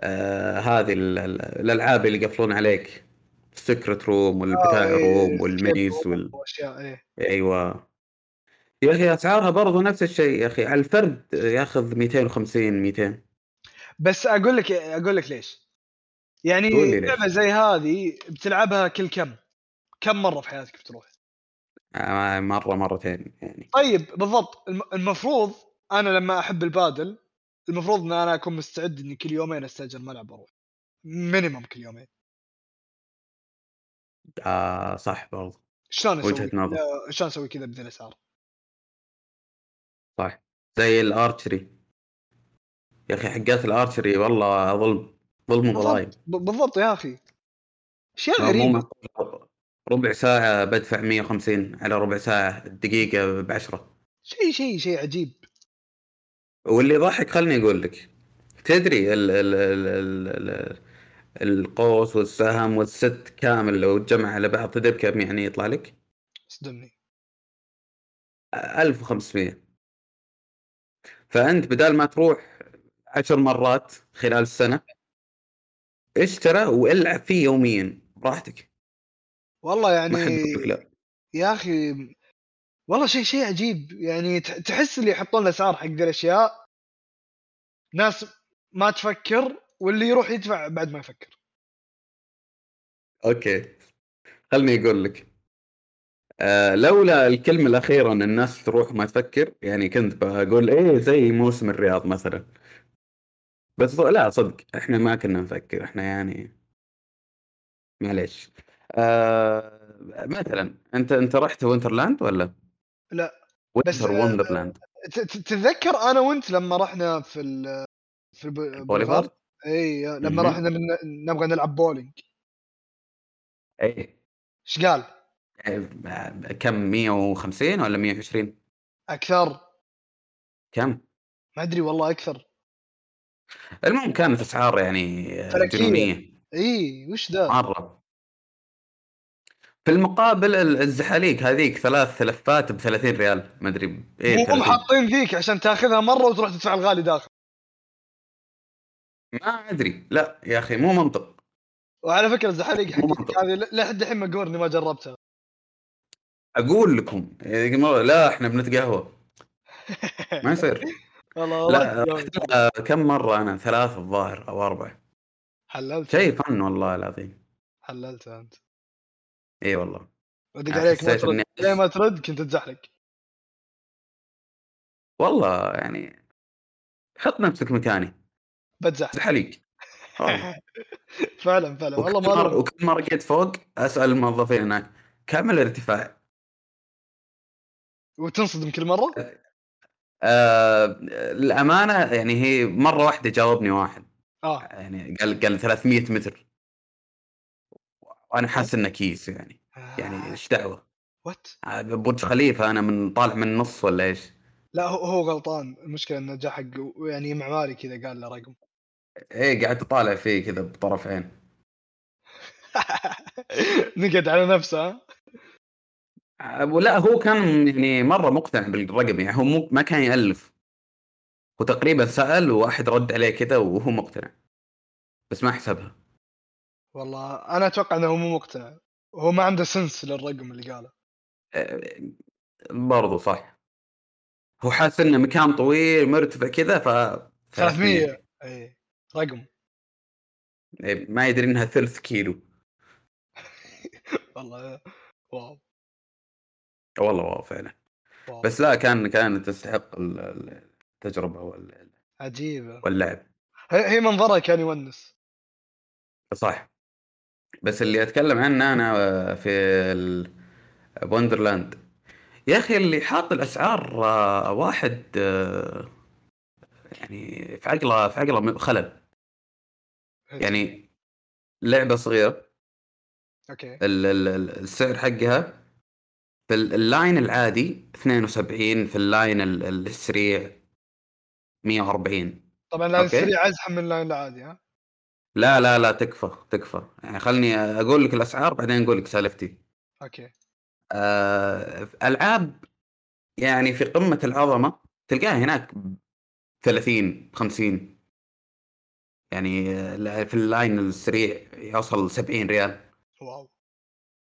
S1: آه هذه ال- ال- الالعاب اللي يقفلون عليك السكرت روم
S2: آه،
S1: والبتاع روم والميز وال...
S2: واشياء ايه
S1: ايوه يا اخي اسعارها برضو نفس الشيء يا اخي على الفرد ياخذ 250 200
S2: بس اقول لك اقول لك ليش يعني
S1: قول لي ليش.
S2: لعبه زي هذه بتلعبها كل كم كم مره في حياتك بتروح
S1: آه، مره مرتين يعني
S2: طيب بالضبط الم- المفروض انا لما احب البادل المفروض ان انا اكون مستعد اني كل يومين استاجر ملعب واروح مينيمم كل يومين
S1: آه صح برضو
S2: شلون اسوي
S1: وجهه نظر
S2: كذا- شلون اسوي كذا بذي الاسعار
S1: صح زي الارشري يا اخي حقات الارشري والله ظلم ظلم وظلايم
S2: بالضبط- بالضبط يا اخي اشياء
S1: مو
S2: غريبه
S1: مقطوع. ربع ساعة بدفع 150 على ربع ساعة الدقيقة ب 10
S2: شيء شيء شيء عجيب
S1: واللي يضحك خلني اقول لك تدري ال ال ال ال ال القوس والسهم والست كامل لو تجمع على بعض تدركم يعني يطلع لك
S2: صدمني
S1: 1500 فانت بدال ما تروح عشر مرات خلال السنة اشترى والعب فيه يوميا براحتك
S2: والله يعني
S1: ما حد يقول لك لا
S2: يا اخي والله شيء شيء عجيب يعني تح- تحس اللي يحطون الاسعار حق ذي الاشياء ناس ما تفكر واللي يروح يدفع بعد ما يفكر
S1: اوكي خلني اقول لك آه لولا الكلمة الأخيرة أن الناس تروح ما تفكر يعني كنت بقول إيه زي موسم الرياض مثلا بس لا صدق إحنا ما كنا نفكر إحنا يعني معليش آه مثلا أنت أنت رحت وينترلاند ولا؟
S2: لا، بس،
S1: وينتر
S2: آه،
S1: وندرلاند
S2: ت- ت- تتذكر انا وانت لما رحنا في ال في الب-
S1: بوليفارد؟
S2: اي لما
S1: مهم.
S2: رحنا من نبغى نلعب بولينج
S1: إيه
S2: ايش قال؟
S1: آه، كم 150 ولا 120
S2: اكثر
S1: كم
S2: ما ادري والله اكثر
S1: المهم كانت اسعار يعني آه،
S2: فلكية.
S1: جنونيه
S2: اي وش ذا؟
S1: مره في المقابل ال- الزحاليق هذيك ثلاث لفات ب 30 ريال ما ادري ب- ايه
S2: هم
S1: 30
S2: حاطين ذيك عشان تاخذها مره وتروح تدفع الغالي داخل
S1: ما ادري لا يا اخي مو منطق
S2: وعلى فكره الزحاليق
S1: مو
S2: حقتك
S1: منطق.
S2: هذه ل- لحد الحين مقهور اني ما جربتها
S1: اقول لكم إيه، لا احنا بنتقهوى ما يصير
S2: والله
S1: لا
S2: والله
S1: رحتها كم مره انا ثلاث الظاهر او اربع
S2: حللت
S1: شيء فن والله العظيم
S2: حللت انت
S1: اي والله
S2: ادق
S1: أنا
S2: عليك ما
S1: يعني حسيت
S2: ترد
S1: إني-
S2: ليه ما ترد كنت تزحلق
S1: والله يعني حط نفسك مكاني
S2: بتزحلق
S1: زحليق والله.
S2: فعلا فعلا والله
S1: وكل
S2: ما
S1: مره
S2: أدري.
S1: وكل مره جيت فوق اسال الموظفين هناك كم الارتفاع؟
S2: وتنصدم كل مره
S1: آه الامانه يعني هي مره واحده جاوبني واحد
S2: اه
S1: يعني قال قال 300 متر وانا حاسس انه كيس يعني
S2: آه.
S1: يعني ايش دعوه؟
S2: وات
S1: برج خليفه انا من طالع من النص ولا ايش؟
S2: لا هو هو غلطان المشكله انه جا حق يعني معماري كذا قال له رقم
S1: ايه قعدت اطالع فيه كذا بطرف عين
S2: نقد على نفسه ها؟
S1: آه، ولا هو كان يعني مره مقتنع بالرقم يعني هو مو ما كان يالف وتقريبا سال واحد رد عليه كذا وهو مقتنع بس ما حسبها
S2: والله انا اتوقع انه هو مو مقتنع هو ما عنده سنس للرقم اللي قاله
S1: آه، برضو صح هو حاسس انه مكان طويل مرتفع كذا ف
S2: 300 اي رقم
S1: إيه، ما يدري انها ثلث كيلو
S2: والله واو
S1: والله واو فعلا
S2: واو
S1: بس لا كان كانت تستحق ال- ال- التجربه وال-
S2: عجيبه
S1: واللعب
S2: هي هي منظرها كان يونس
S1: صح بس اللي اتكلم عنه انا في ال- وندرلاند يا اخي اللي حاط الاسعار آه، واحد آه، يعني في عقله في عقله خلل يعني لعبه صغيره
S2: اوكي
S1: ال- ال- ال- السعر حقها في ال- اللاين العادي 72 في اللاين ال- ال- السريع 140
S2: طبعا لاين
S1: أوكي.
S2: سريع ازحم من لاين العادي ها
S1: لا لا لا تكفى تكفى يعني خلني اقول لك الاسعار بعدين اقول لك سالفتي
S2: اوكي
S1: آه العاب يعني في قمه العظمه تلقاها هناك 30 50 يعني آه، في اللاين السريع يوصل 70 ريال
S2: واو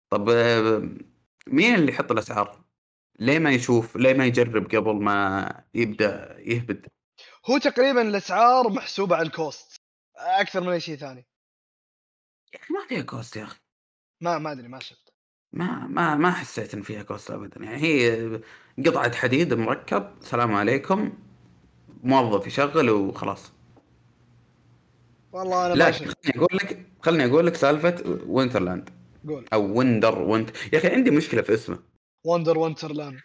S1: طب آه، مين اللي يحط الاسعار؟ ليه ما يشوف؟ ليه ما يجرب قبل ما يبدا يهبد؟
S2: هو تقريبا الاسعار محسوبه على الكوست اكثر من اي شيء ثاني
S1: يا اخي ما فيها كوست يا اخي
S2: ما ما ادري ما شفت
S1: ما ما ما حسيت ان فيها كوست ابدا يعني هي قطعه حديد مركب سلام عليكم موظف يشغل وخلاص
S2: والله انا ما
S1: لكن
S2: شفت
S1: خليني اقول لك خليني اقول لك سالفه وينترلاند
S2: قول
S1: او ويندر وينت يا اخي عندي مشكله في اسمه
S2: وندر وينترلاند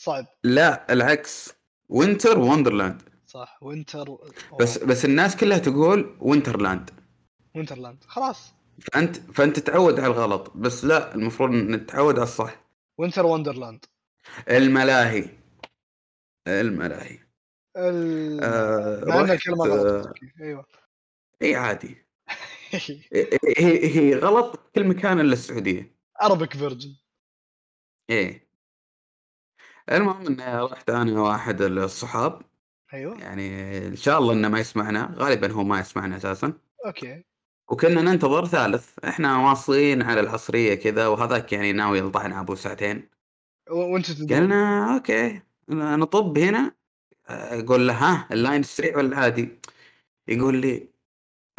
S2: صعب
S1: لا العكس وينتر وندرلاند
S2: صح وينتر
S1: بس بس الناس كلها تقول وينترلاند
S2: وينترلاند خلاص
S1: فانت فانت تتعود على الغلط بس لا المفروض نتعود على الصح
S2: وينتر وندرلاند
S1: الملاهي الملاهي
S2: ال...
S1: آه
S2: مع ان
S1: رحت-
S2: الكلمه غلط أوكي، ايوه
S1: اي عادي إيه، هي هي غلط كل مكان الا السعوديه
S2: اربك فيرجن
S1: ايه المهم اني رحت انا واحد الصحاب
S2: ايوه
S1: يعني ان شاء الله انه ما يسمعنا غالبا هو ما يسمعنا اساسا
S2: اوكي
S1: وكنا ننتظر ثالث احنا واصلين على العصريه كذا وهذاك يعني ناوي يلطحنا ابو ساعتين
S2: و- وانت
S1: يعني
S2: تدري
S1: قالنا اوكي نطب هنا اقول له ها اللاين السريع ولا العادي؟ يقول لي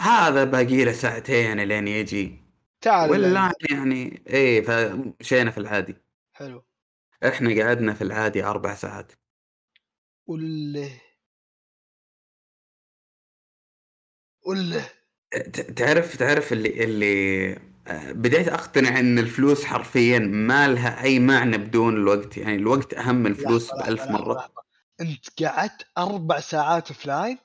S1: هذا باقي له ساعتين لين يجي
S2: تعال إلى-
S1: واللاين يعني ايه فمشينا في العادي
S2: حلو
S1: احنا قعدنا في العادي اربع ساعات
S2: وله وله
S1: ت- تعرف تعرف اللي اللي آه، بديت اقتنع ان الفلوس حرفيا ما لها اي معنى بدون الوقت يعني الوقت اهم من الفلوس
S2: لحظة،
S1: بألف
S2: لحظة، لحظة،
S1: مره
S2: لحظة. انت قعدت اربع ساعات في لاين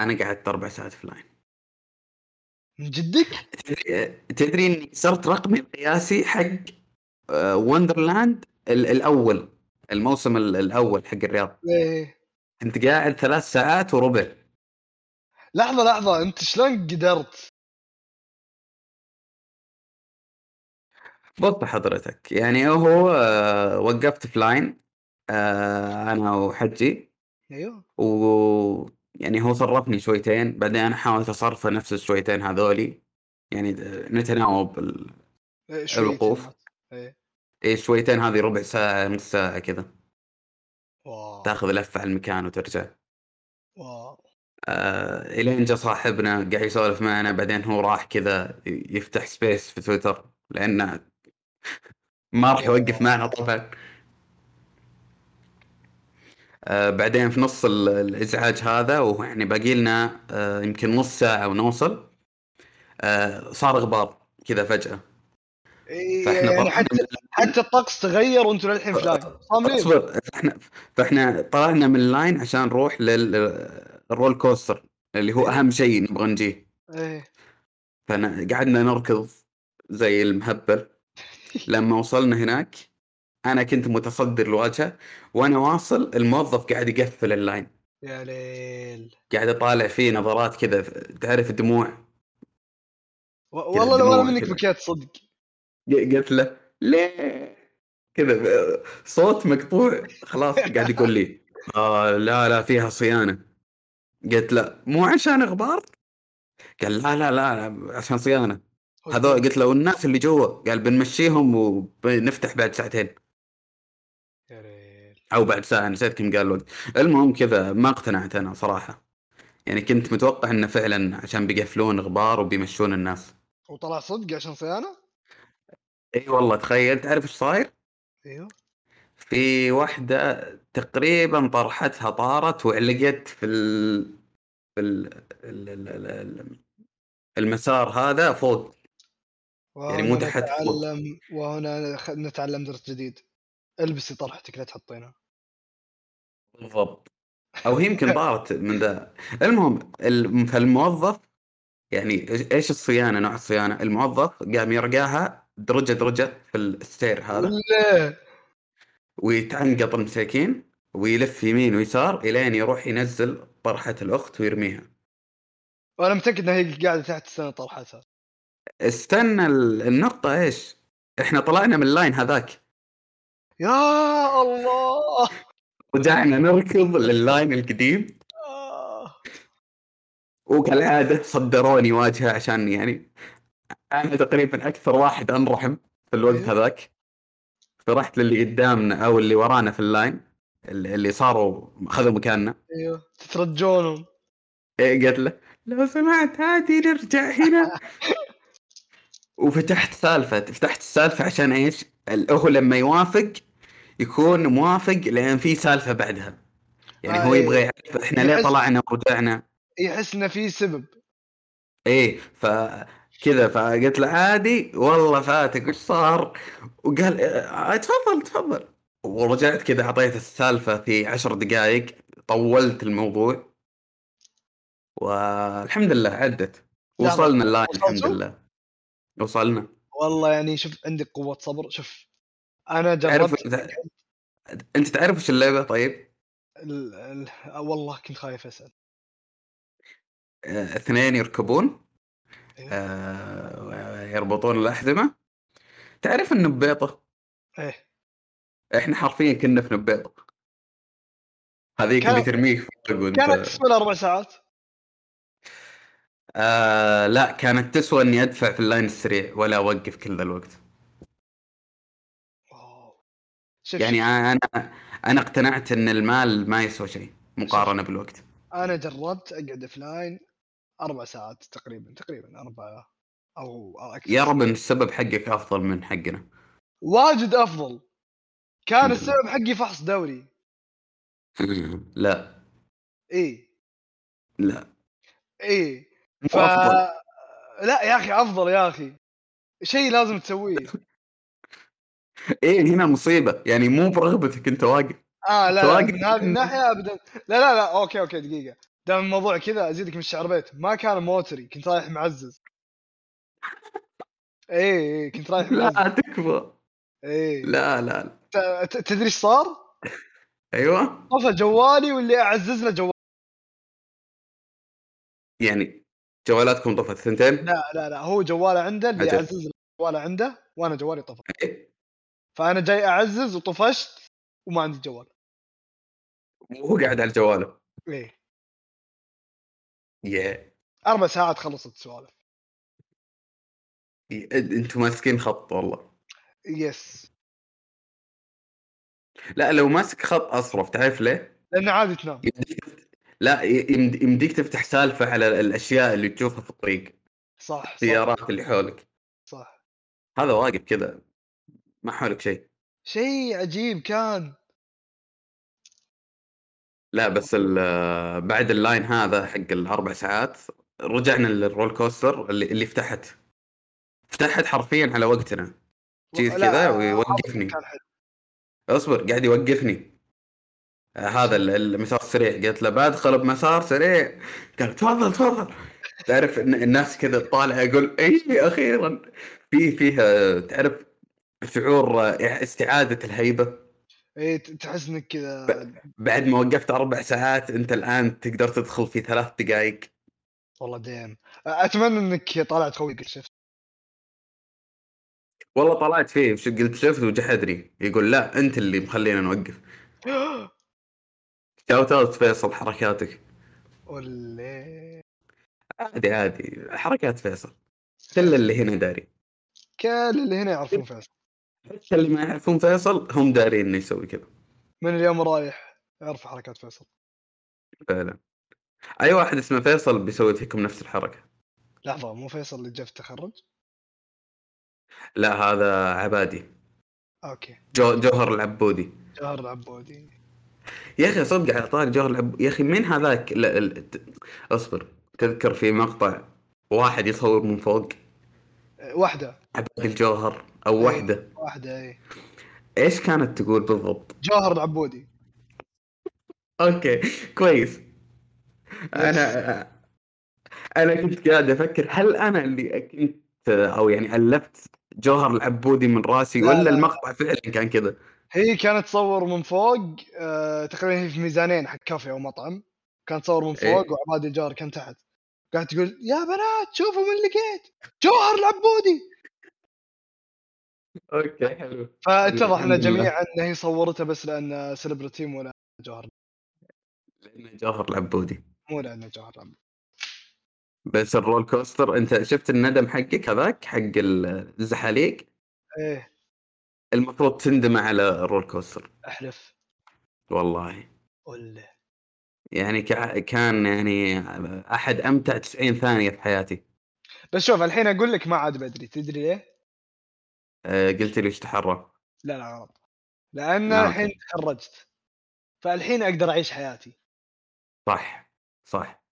S1: انا قعدت اربع ساعات في لاين
S2: من جدك
S1: تدري تدري اني صرت رقمي القياسي حق آه، وندرلاند ال- الاول الموسم ال- الاول حق الرياض
S2: إيه.
S1: كنت قاعد ثلاث ساعات وربع
S2: لحظه لحظه انت شلون قدرت
S1: بط حضرتك يعني هو آه، وقفت في لاين آه، انا وحجي
S2: ايوه
S1: و يعني هو صرفني شويتين بعدين انا حاولت اصرفه نفس الشويتين هذولي يعني نتناوب ال-
S2: إيه، شوي
S1: الوقوف.
S2: كلمات.
S1: إيه، شويتين هذه ربع ساعه نص ساعه كذا
S2: واو
S1: تاخذ لفه على المكان وترجع
S2: واو
S1: آه الين جا صاحبنا قاعد يسولف معنا بعدين هو راح كذا يفتح سبيس في تويتر لانه ما راح يوقف معنا طبعا آه بعدين في نص ال- الازعاج هذا واحنا باقي لنا آه يمكن نص ساعه ونوصل آه صار غبار كذا فجاه
S2: إيه،
S1: فاحنا
S2: يعني
S1: طبعاً-
S2: حتى حتى الطقس تغير وانتم للحين في لاين صاملين
S1: اصبر فاحنا فاحنا طلعنا من اللاين عشان نروح للرول كوستر اللي هو اهم شيء نبغى نجيه
S2: ايه
S1: فقعدنا نركض زي المهبل لما وصلنا هناك انا كنت متصدر الواجهه وانا واصل الموظف قاعد يقفل اللاين
S2: يا ليل
S1: قاعد اطالع فيه نظرات كذا تعرف دموع
S2: و- والله لو انا
S1: دموع
S2: منك
S1: كذا.
S2: بكيت صدق
S1: قلت له ليه كذا ب- صوت مقطوع خلاص قاعد يقول لي آه لا لا فيها صيانه قلت له مو عشان اخبار قال لا لا لا عشان صيانه هذول قلت له والناس اللي جوا قال بنمشيهم وبنفتح بعد ساعتين
S2: يا ليل
S1: او بعد ساعه نسيت كم قال الوقت المهم كذا ما اقتنعت انا صراحه يعني كنت متوقع انه فعلا عشان بيقفلون غبار وبيمشون الناس
S2: وطلع صدق عشان صيانه
S1: اي والله تخيل تعرف ايش صاير
S2: ايوه
S1: في واحده تقريبا طرحتها طارت وعلقت في ال... في ال... ال... ال... ال... ال- المسار هذا فوق يعني مو
S2: وهنا
S1: تحت فوق.
S2: نتعلم وهنا خ- نتعلم درس جديد البسي طرحتك لا تحطينها
S1: بالضبط او هي يمكن طارت من ذا المهم الم- فالموظف يعني إيش- ايش الصيانه نوع الصيانه الموظف قام يرقاها درجه درجه في الستير هذا
S2: ليه
S1: ويتعنقط المساكين ويلف يمين ويسار الين يروح ينزل طرحه الاخت ويرميها
S2: وانا متاكد انها هي قاعده تحت السنه طرحتها
S1: استنى ال- النقطه ايش احنا طلعنا من اللاين هذاك
S2: يا الله
S1: رجعنا نركض لللاين القديم
S2: آه.
S1: وكالعاده صدروني واجهه عشان يعني انا تقريبا اكثر واحد انرحم في الوقت
S2: أيوه.
S1: هذاك فرحت للي قدامنا او اللي ورانا في اللاين اللي اللي صاروا اخذوا مكاننا
S2: ايوه تترجونهم
S1: إيه، قلت له لو سمحت عادي نرجع هنا وفتحت سالفه فتحت السالفه عشان ايش؟ ال- هو لما يوافق يكون موافق لان في سالفه بعدها يعني
S2: آه،
S1: هو
S2: إيه.
S1: يبغى يعرف احنا ليه
S2: يحس-
S1: طلعنا ورجعنا
S2: يحس انه في سبب
S1: ايه ف كذا فقلت له عادي والله فاتك وش صار؟ وقال "آه، تفضل تفضل ورجعت كذا اعطيته السالفه في عشر دقائق طولت الموضوع والحمد لله عدت
S2: لحظة،
S1: وصلنا اللاين الحمد
S2: وصلتوا؟
S1: لله وصلنا
S2: والله يعني شوف عندك قوه صبر شوف انا
S1: تعرف
S2: جربت
S1: تع- انت تعرف وش اللعبه طيب؟
S2: ال... ال... آه، والله كنت خايف اسال
S1: آه، اثنين يركبون
S2: إيه.
S1: آه، يربطون الاحزمه تعرف النبيطه
S2: ايه
S1: احنا حرفيا كنا في نبيطه هذيك اللي
S2: كانت-
S1: ترميك فوق وانت
S2: كانت تسوى لها اربع ساعات
S1: آه لا كانت تسوى اني ادفع في اللاين السريع ولا اوقف كل ذا الوقت
S2: واو. شوف
S1: يعني
S2: يعني
S1: انا انا اقتنعت ان المال ما يسوى شيء مقارنه بالوقت
S2: انا جربت اقعد في لاين اربع ساعات تقريبا تقريبا اربع او أو اكثر
S1: يا رب ان السبب حقك افضل من حقنا
S2: واجد افضل كان
S1: الحمد
S2: السبب حقي فحص دوري
S1: لا
S2: اي
S1: لا
S2: اي
S1: مو
S2: ف
S1: افضل
S2: لا يا اخي افضل يا اخي شيء لازم تسويه
S1: ايه هنا مصيبه يعني مو برغبتك انت واقف
S2: اه لا لا
S1: تواجد.
S2: من هذه الناحيه ابدا لا لا لا اوكي اوكي دقيقه دام الموضوع كذا ازيدك من الشعر بيت ما كان موتري كنت رايح معزز اي اي كنت رايح معزز
S1: لا تكفى
S2: اي
S1: لا لا, لا.
S2: ت- ت- تدري ايش صار؟
S1: ايوه
S2: طفى جوالي واللي اعزز له جوالي
S1: يعني جوالاتكم طفت ثنتين
S2: لا لا لا هو جواله عنده اللي
S1: عجب.
S2: اعزز له جواله عنده وانا جوالي طفى
S1: إيه.
S2: فانا جاي اعزز وطفشت وما عندي جوال
S1: وهو قاعد على جواله
S2: ايه
S1: يا
S2: اربع ساعات خلصت السوالف
S1: انتم ماسكين خط والله
S2: يس
S1: لا لو ماسك خط اصرف تعرف ليه؟
S2: لان عادي تنام
S1: يمديك تفت- لا ي- يمد- يمديك تفتح سالفه على الاشياء اللي تشوفها في الطريق
S2: صح صح,
S1: السيارات اللي حولك
S2: صح.
S1: هذا واقف كذا ما حولك شيء
S2: شيء عجيب كان
S1: لا بس ال- بعد اللاين هذا حق الاربع ساعات رجعنا للرول كوستر اللي, اللي فتحت فتحت حرفيا على وقتنا جيت
S2: لا،
S1: كذا
S2: آه،
S1: ويوقفني
S2: كان حلو
S1: اصبر قاعد يوقفني آه، هذا ال- المسار السريع قلت له بدخل بمسار سريع قال تفضل تفضل تعرف إن الناس كذا طالعه اقول اي اخيرا في فيها تعرف شعور آه، استعاده الهيبه
S2: اي إيه، ت- تحس انك كذا
S1: بعد ما وقفت اربع ساعات انت الان تقدر تدخل في ثلاث دقائق
S2: والله ديم اتمنى انك طلعت قوي قلت شفت
S1: والله طلعت فيه وش قلت شفت وجحدني يقول لا انت اللي مخلينا نوقف شاوت اوت فيصل حركاتك
S2: ولا
S1: عادي عادي حركات فيصل كل اللي هنا داري
S2: كل اللي هنا يعرفون فيصل
S1: حتى اللي ما يعرفون فيصل هم دارين انه يسوي كذا
S2: من اليوم رايح اعرف حركات فيصل
S1: فعلا اي واحد اسمه فيصل بيسوي فيكم نفس الحركه
S2: لحظه مو فيصل اللي جاء في التخرج
S1: لا هذا عبادي
S2: اوكي
S1: جو جوهر العبودي
S2: جوهر العبودي
S1: يا اخي صدق على طاري جوهر العب يا اخي مين هذاك لا ال... ت- اصبر تذكر في مقطع واحد يصور من فوق
S2: أه، واحده
S1: عباد الجوهر او
S2: أيوة.
S1: وحده
S2: واحده اي
S1: ايش كانت تقول بالضبط
S2: إيه. جوهر العبودي
S1: اوكي كويس انا انا كنت قاعد افكر هل انا اللي كنت او يعني الفت جوهر العبودي من راسي
S2: لا، لا،
S1: ولا
S2: لا.
S1: المقطع فعلا كان كذا
S2: هي كانت تصور من فوق آه، تقريبا هي في ميزانين حق كافي او مطعم كانت تصور من
S1: إيه.
S2: فوق وعباد الجار كان تحت قاعد تقول يا بنات شوفوا من لقيت جوهر العبودي
S1: اوكي حلو
S2: فاتضح لنا
S1: الحمد لله.
S2: جميعا ان هي صورته بس لان سيلبرتي مو لان جوهر
S1: لانه جوهر العبودي
S2: مو لان جوهر العبودي
S1: بس الرول كوستر انت شفت الندم حقك هذاك حق ال- الزحاليق
S2: ايه
S1: المفروض تندم على الرول كوستر
S2: احلف
S1: والله
S2: قول له.
S1: يعني كع- كان يعني احد امتع 90 ثانيه في حياتي
S2: بس شوف الحين اقول لك ما عاد بدري تدري ليه؟
S1: آه، قلت لي وش تحرى
S2: لا لا غلط لان
S1: آه،
S2: الحين تخرجت فالحين اقدر اعيش حياتي
S1: صح صح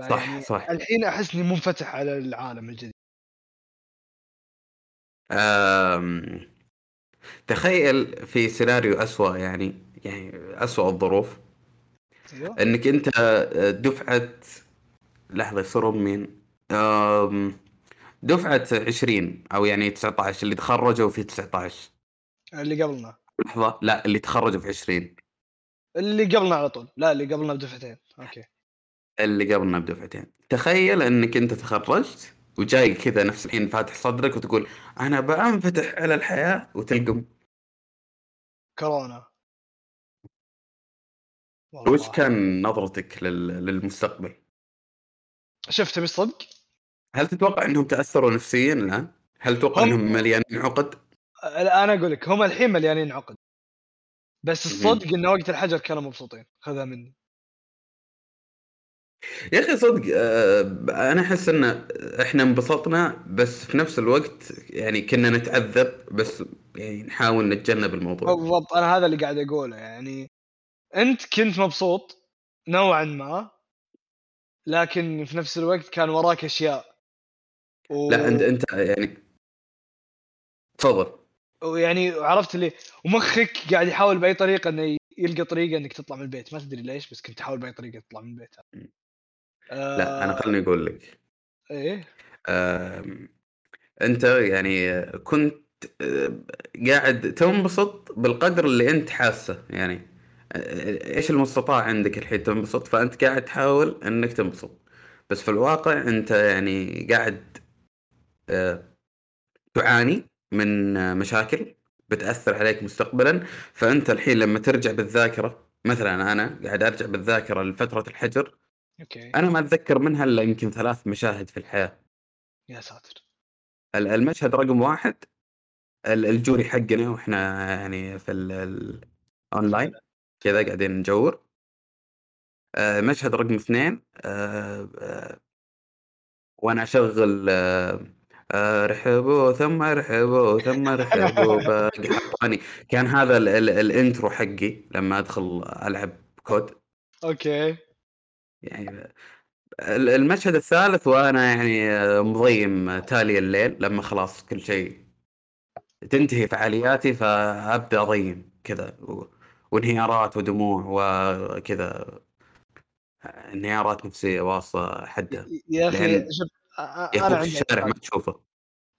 S1: صح
S2: فيعني
S1: صح
S2: الحين احس اني منفتح على العالم الجديد
S1: آم، تخيل في سيناريو أسوأ يعني يعني أسوأ الظروف
S2: ايوه
S1: انك انت دفعة لحظة يصيروا مين؟ آم، دفعة 20 او يعني 19 اللي تخرجوا في 19
S2: اللي قبلنا
S1: لحظة لا اللي تخرجوا في 20
S2: اللي قبلنا على طول لا اللي قبلنا بدفعتين اوكي
S1: اللي قبلنا بدفعتين تخيل انك انت تخرجت وجاي كذا نفس الحين فاتح صدرك وتقول انا بنفتح على الحياة وتلقم
S2: كورونا والله
S1: وش كان نظرتك لل- للمستقبل؟
S2: شفت بالصدق
S1: هل تتوقع انهم تاثروا نفسيا الان؟ هل تتوقع
S2: هم-
S1: انهم مليانين عقد؟
S2: انا اقول لك هم الحين مليانين عقد بس الصدق انه وقت الحجر كانوا مبسوطين خذها مني
S1: يا اخي صدق آه، انا احس ان احنا انبسطنا بس في نفس الوقت يعني كنا نتعذب بس يعني نحاول نتجنب الموضوع
S2: بالضبط انا هذا اللي قاعد اقوله يعني انت كنت مبسوط نوعا ما لكن في نفس الوقت كان وراك اشياء و...
S1: لا انت انت يعني تفضل
S2: ويعني يعني عرفت اللي ومخك قاعد يحاول باي طريقه انه يلقى طريقه انك تطلع من البيت ما تدري ليش بس كنت تحاول باي طريقه تطلع من البيت آه...
S1: لا انا خلني اقول لك
S2: ايه
S1: آم، انت يعني كنت آه، قاعد تنبسط بالقدر اللي انت حاسه يعني آه، ايش المستطاع عندك الحين تنبسط فانت قاعد تحاول انك تنبسط بس في الواقع انت يعني قاعد آه، تعاني من آه، مشاكل بتاثر عليك مستقبلا فانت الحين لما ترجع بالذاكره مثلا انا قاعد ارجع بالذاكره لفتره الحجر
S2: اوكي
S1: انا ما اتذكر منها الا يمكن ثلاث مشاهد في الحياه
S2: يا ساتر
S1: ال- المشهد رقم واحد ال- الجوري حقنا واحنا يعني في الاونلاين كذا قاعدين نجور آه، مشهد رقم اثنين آه، آه، وانا اشغل آه، آه، رحبوا ثم رحبوا ثم رحبوا باقي حطاني كان هذا ال ال الانترو حقي لما ادخل العب كود
S2: اوكي
S1: يعني ال- المشهد الثالث وانا يعني آه، مضيم آه، تالي الليل لما خلاص كل شيء تنتهي فعالياتي فابدا اضيم كذا و- وانهيارات ودموع وكذا آه، انهيارات نفسيه واصله حدها
S2: يا اخي
S1: لأن-
S2: شوف أ- أ- انا
S1: ياخذ
S2: إيه، عندي
S1: الشارع ما
S2: اعتقاد
S1: تشوفه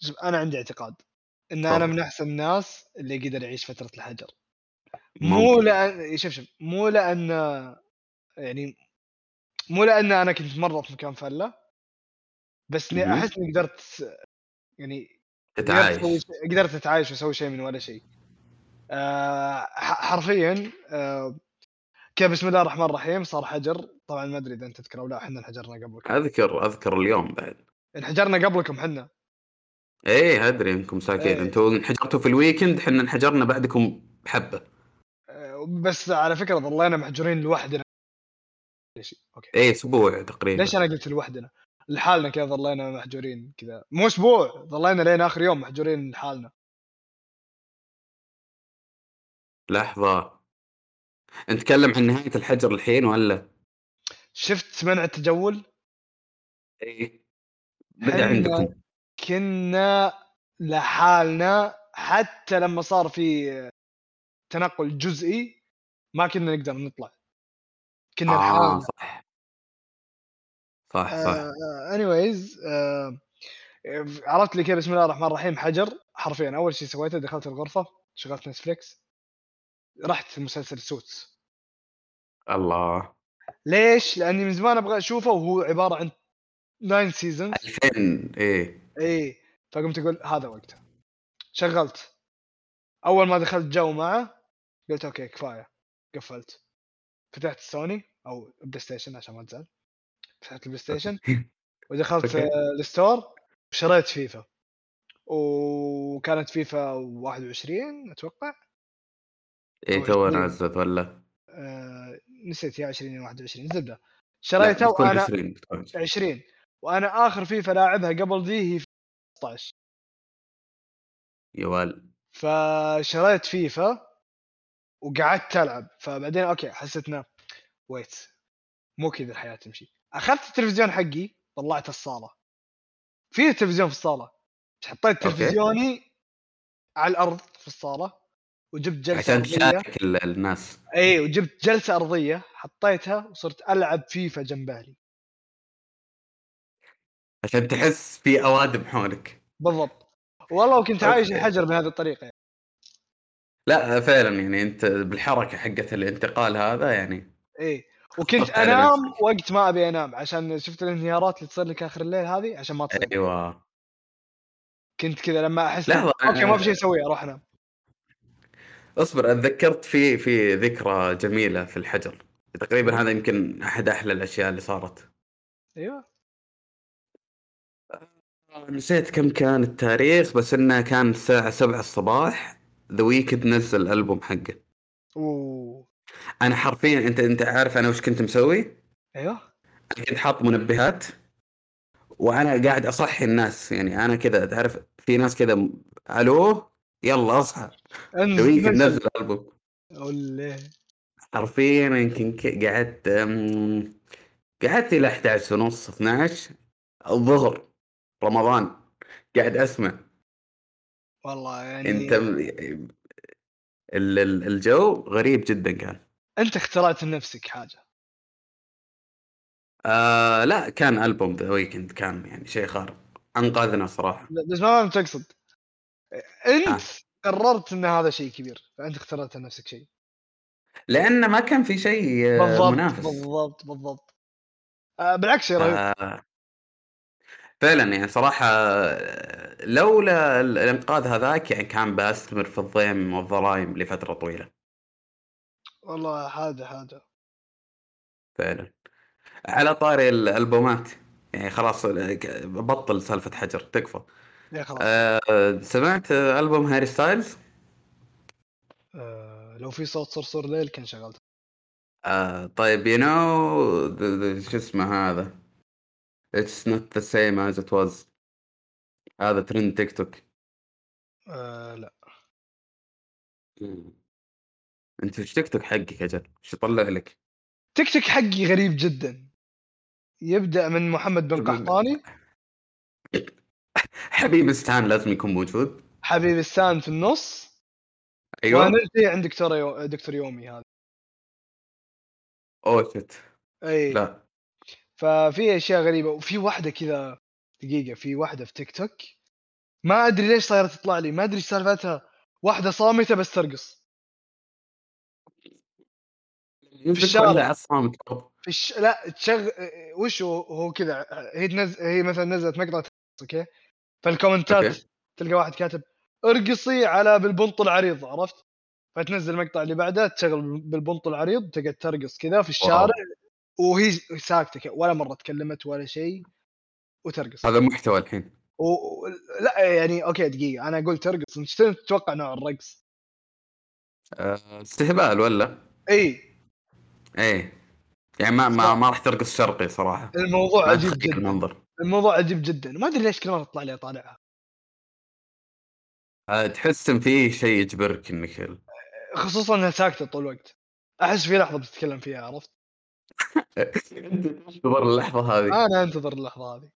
S2: شوف انا عندي اعتقاد ان انا
S1: تفضل.
S2: من احسن الناس اللي يقدر يعيش فتره الحجر مو
S1: ممكن.
S2: لان شوف شوف مو لان يعني مو لان انا كنت مره في مكان فله بس اني
S1: مهم.
S2: احس اني قدرت يعني قدرت أسوي
S1: تتعايش
S2: شيء- قدرت اتعايش واسوي شيء من ولا شيء آه ح- حرفيا آه كان بسم الله الرحمن الرحيم صار حجر طبعا ما ادري اذا انت تذكر او لا احنا انحجرنا قبلكم
S1: اذكر اذكر اليوم بعد
S2: انحجرنا قبلكم احنا
S1: ايه ادري انكم ساكتين
S2: إيه.
S1: انتوا انحجرتوا في الويكند احنا انحجرنا بعدكم بحبه
S2: آه، بس على فكره ظلينا محجورين لوحدنا ليش اوكي
S1: ايه اسبوع تقريبا
S2: ليش انا قلت لوحدنا لحالنا كذا ظلينا محجورين كذا مو اسبوع ظلينا لين اخر يوم محجورين لحالنا
S1: لحظه نتكلم عن نهايه الحجر الحين ولا
S2: شفت منع التجول
S1: ايه بدا
S2: حنا-
S1: عندكم
S2: كنا لحالنا حتى لما صار في تنقل جزئي ما كنا نقدر نطلع كنا
S1: اه
S2: لحالنا
S1: صح صح
S2: آه.
S1: صح
S2: انيويز آه، عرفت لي كيف بسم الله الرحمن الرحيم حجر حرفيا اول شيء سويته دخلت الغرفه شغلت نتفليكس رحت مسلسل سوتس
S1: الله
S2: ليش؟ لاني من زمان ابغى اشوفه وهو عباره عن 9 سيزونز
S1: 2000 ايه
S2: اي فقمت اقول هذا وقته شغلت اول ما دخلت جو معه قلت اوكي كفايه قفلت فتحت سوني او بلاي ستيشن عشان ما تزعل فتحت البلاي ستيشن
S1: إيه،
S2: ودخلت
S1: أوكي.
S2: آه، الستور وشريت فيفا وكانت فيفا 21 اتوقع
S1: ايه تو
S2: 20.
S1: نزلت ولا
S2: آه، نسيت يا 20 يا 21 زبده
S1: لا، طيب،
S2: شريتها
S1: بتكون
S2: وانا
S1: 20 بتكون 20.
S2: 20 وانا اخر فيفا لاعبها قبل ذي هي 15
S1: يا وال
S2: فشريت فيفا وقعدت العب فبعدين اوكي حسيت انه ويت مو كذا الحياه تمشي اخذت التلفزيون حقي طلعته الصاله في تلفزيون في الصاله بس حطيت
S1: أوكي.
S2: تلفزيوني على الارض في الصاله وجبت جلسه
S1: عشان
S2: ارضيه
S1: تشارك ال- الناس
S2: اي وجبت جلسه ارضيه حطيتها وصرت العب فيفا جنب اهلي
S1: عشان تحس في اوادم حولك
S2: بالضبط والله وكنت عايش
S1: أوكي.
S2: الحجر بهذه الطريقه يعني.
S1: لا فعلا يعني انت بالحركه حقت الانتقال هذا يعني
S2: اي إيه. وكنت
S1: خفت على
S2: انام
S1: نفسك.
S2: وقت ما ابي انام عشان شفت الانهيارات اللي تصير لك اخر الليل هذه عشان ما تصير
S1: ايوه
S2: كنت كذا لما احس
S1: لحظة،
S2: اوكي ما
S1: أنا-
S2: في شيء اسوي اروح انام
S1: اصبر اتذكرت في في ذكرى جميله في الحجر تقريبا هذا يمكن احد احلى الاشياء اللي صارت
S2: ايوه
S1: آه، نسيت كم كان التاريخ بس انه كان الساعه 7 الصباح ذا ويكند نزل الالبوم حقه
S2: اوه
S1: انا حرفيا انت انت عارف انا وش كنت مسوي؟
S2: ايوه
S1: انا كنت حاط منبهات وانا قاعد اصحي الناس يعني انا كذا تعرف في ناس كذا م- الو يلا اصحى ذا
S2: انزل
S1: ويكند
S2: نزل
S1: نزل الالبوم
S2: أوليه.
S1: حرفيا يمكن ك- قعدت أم، قعدت الى 11 ونص 12 الظهر رمضان قاعد اسمع
S2: والله يعني
S1: انت
S2: انت
S1: م- ال- ال- الجو غريب جدا كان
S2: انت اخترعت لنفسك حاجه
S1: آه لا كان البوم ذا ويكند كان يعني شيء خارق انقذنا صراحه
S2: لا، بس ما فهمت تقصد انت
S1: آه.
S2: قررت ان هذا شيء كبير فانت اخترعت لنفسك شيء
S1: لان ما كان في شيء آه،
S2: بالضبط
S1: منافس
S2: بالضبط بالضبط آه بالعكس شيء رهيب
S1: آه فعلا يعني صراحه آه، لولا ال- الانقاذ هذاك يعني كان بستمر في الضيم والظرايم لفتره طويله
S2: والله حاجه حاجه
S1: فعلا على طاري الالبومات يعني خلاص ال- ك- بطل سالفه حجر تكفى
S2: يا خلاص
S1: آه، سمعت آه، البوم هاري ستايلز
S2: آه، لو في صوت صرصور ليل كان شغلته
S1: آه، طيب يو نو شو اسمه هذا اتس نوت ذا سيم از ات واز هذا ترند تيك توك
S2: آه، لا
S1: انت وش تيك توك حقك اجل وش يطلع لك
S2: تيك توك حقي غريب جدا يبدا من محمد بن قحطاني
S1: حبيب ستان لازم يكون موجود
S2: حبيب السان في النص
S1: ايوه
S2: وانا جاي عند دكتور يو... دكتور يومي هذا
S1: اوه شت
S2: اي
S1: لا
S2: ففي اشياء غريبه وفي واحده كذا دقيقه في واحده في تيك توك ما ادري ليش صايره تطلع لي ما ادري ايش سالفتها واحده صامته بس ترقص
S1: يمسك
S2: الشارع.
S1: ولا عصام كوب.
S2: في الش... لا تشغ إيه، وش هو, هو كذا هي تنز... هي مثلا نزلت مقطع ترقص، اوكي فالكومنتات
S1: أوكي.
S2: تلقى واحد كاتب ارقصي على بالبنط العريض عرفت فتنزل المقطع اللي بعده تشغل بالبنط العريض تقعد ترقص كذا في الشارع وهي ساكته كده، ولا مره تكلمت ولا شيء وترقص
S1: هذا محتوى الحين
S2: و... و- لا يعني اوكي دقيقه انا قلت ترقص انت شنو تتوقع نوع الرقص؟
S1: آه، استهبال ولا
S2: اي
S1: ايه يعني ما ما,
S2: صح.
S1: ما راح ترقص شرقي صراحه
S2: الموضوع
S1: ما
S2: عجيب
S1: تخيل
S2: جدا
S1: المنظر
S2: الموضوع عجيب جدا ما ادري ليش كل مره تطلع لي طالعها
S1: آه، تحس ان في شيء يجبرك انك ال-
S2: خصوصا انها ساكته طول الوقت احس في لحظه بتتكلم فيها عرفت؟
S1: تنتظر اللحظه هذه
S2: انا انتظر اللحظه هذه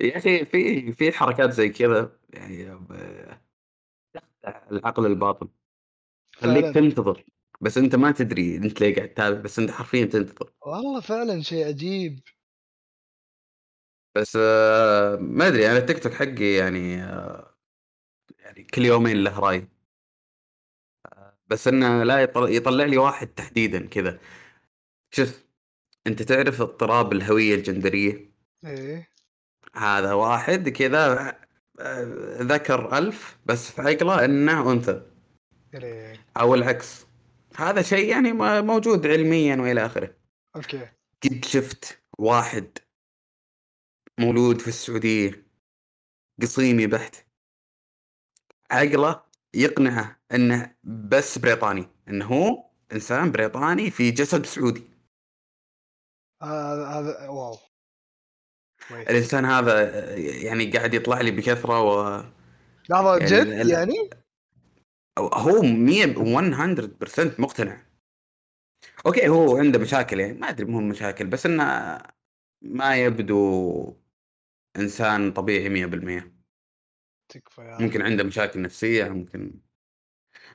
S1: يا اخي في في حركات زي كذا يعني آه، تخدع العقل الباطن خليك
S2: فعلا
S1: تنتظر بس انت ما تدري انت ليه قاعد تتابع بس انت حرفيا تنتظر
S2: والله فعلا شيء عجيب
S1: بس آه، ما ادري انا التيك توك حقي يعني آه، يعني كل يومين له راي آه، بس انه لا يطل- يطلع لي واحد تحديدا كذا شوف انت تعرف اضطراب الهويه الجندريه
S2: ايه
S1: هذا واحد كذا آه، ذكر ألف بس في عقله أنه أنثى
S2: يا ريت.
S1: أو العكس هذا شيء يعني ما- موجود علميا وإلى آخره
S2: اوكي
S1: قد شفت واحد مولود في السعودية قصيمي بحت عقله يقنعه أنه بس بريطاني أنه هو إنسان بريطاني في جسد سعودي
S2: هذا هذا واو كويس.
S1: الإنسان هذا آه، يعني قاعد يطلع لي بكثرة و
S2: لحظه
S1: يعني ال-
S2: جد
S1: ال-
S2: يعني؟
S1: هو 100 100% مقتنع اوكي هو عنده مشاكل يعني ما ادري مهم مشاكل بس انه ما يبدو انسان طبيعي 100%
S2: تكفى يا
S1: ممكن عنده مشاكل نفسيه ممكن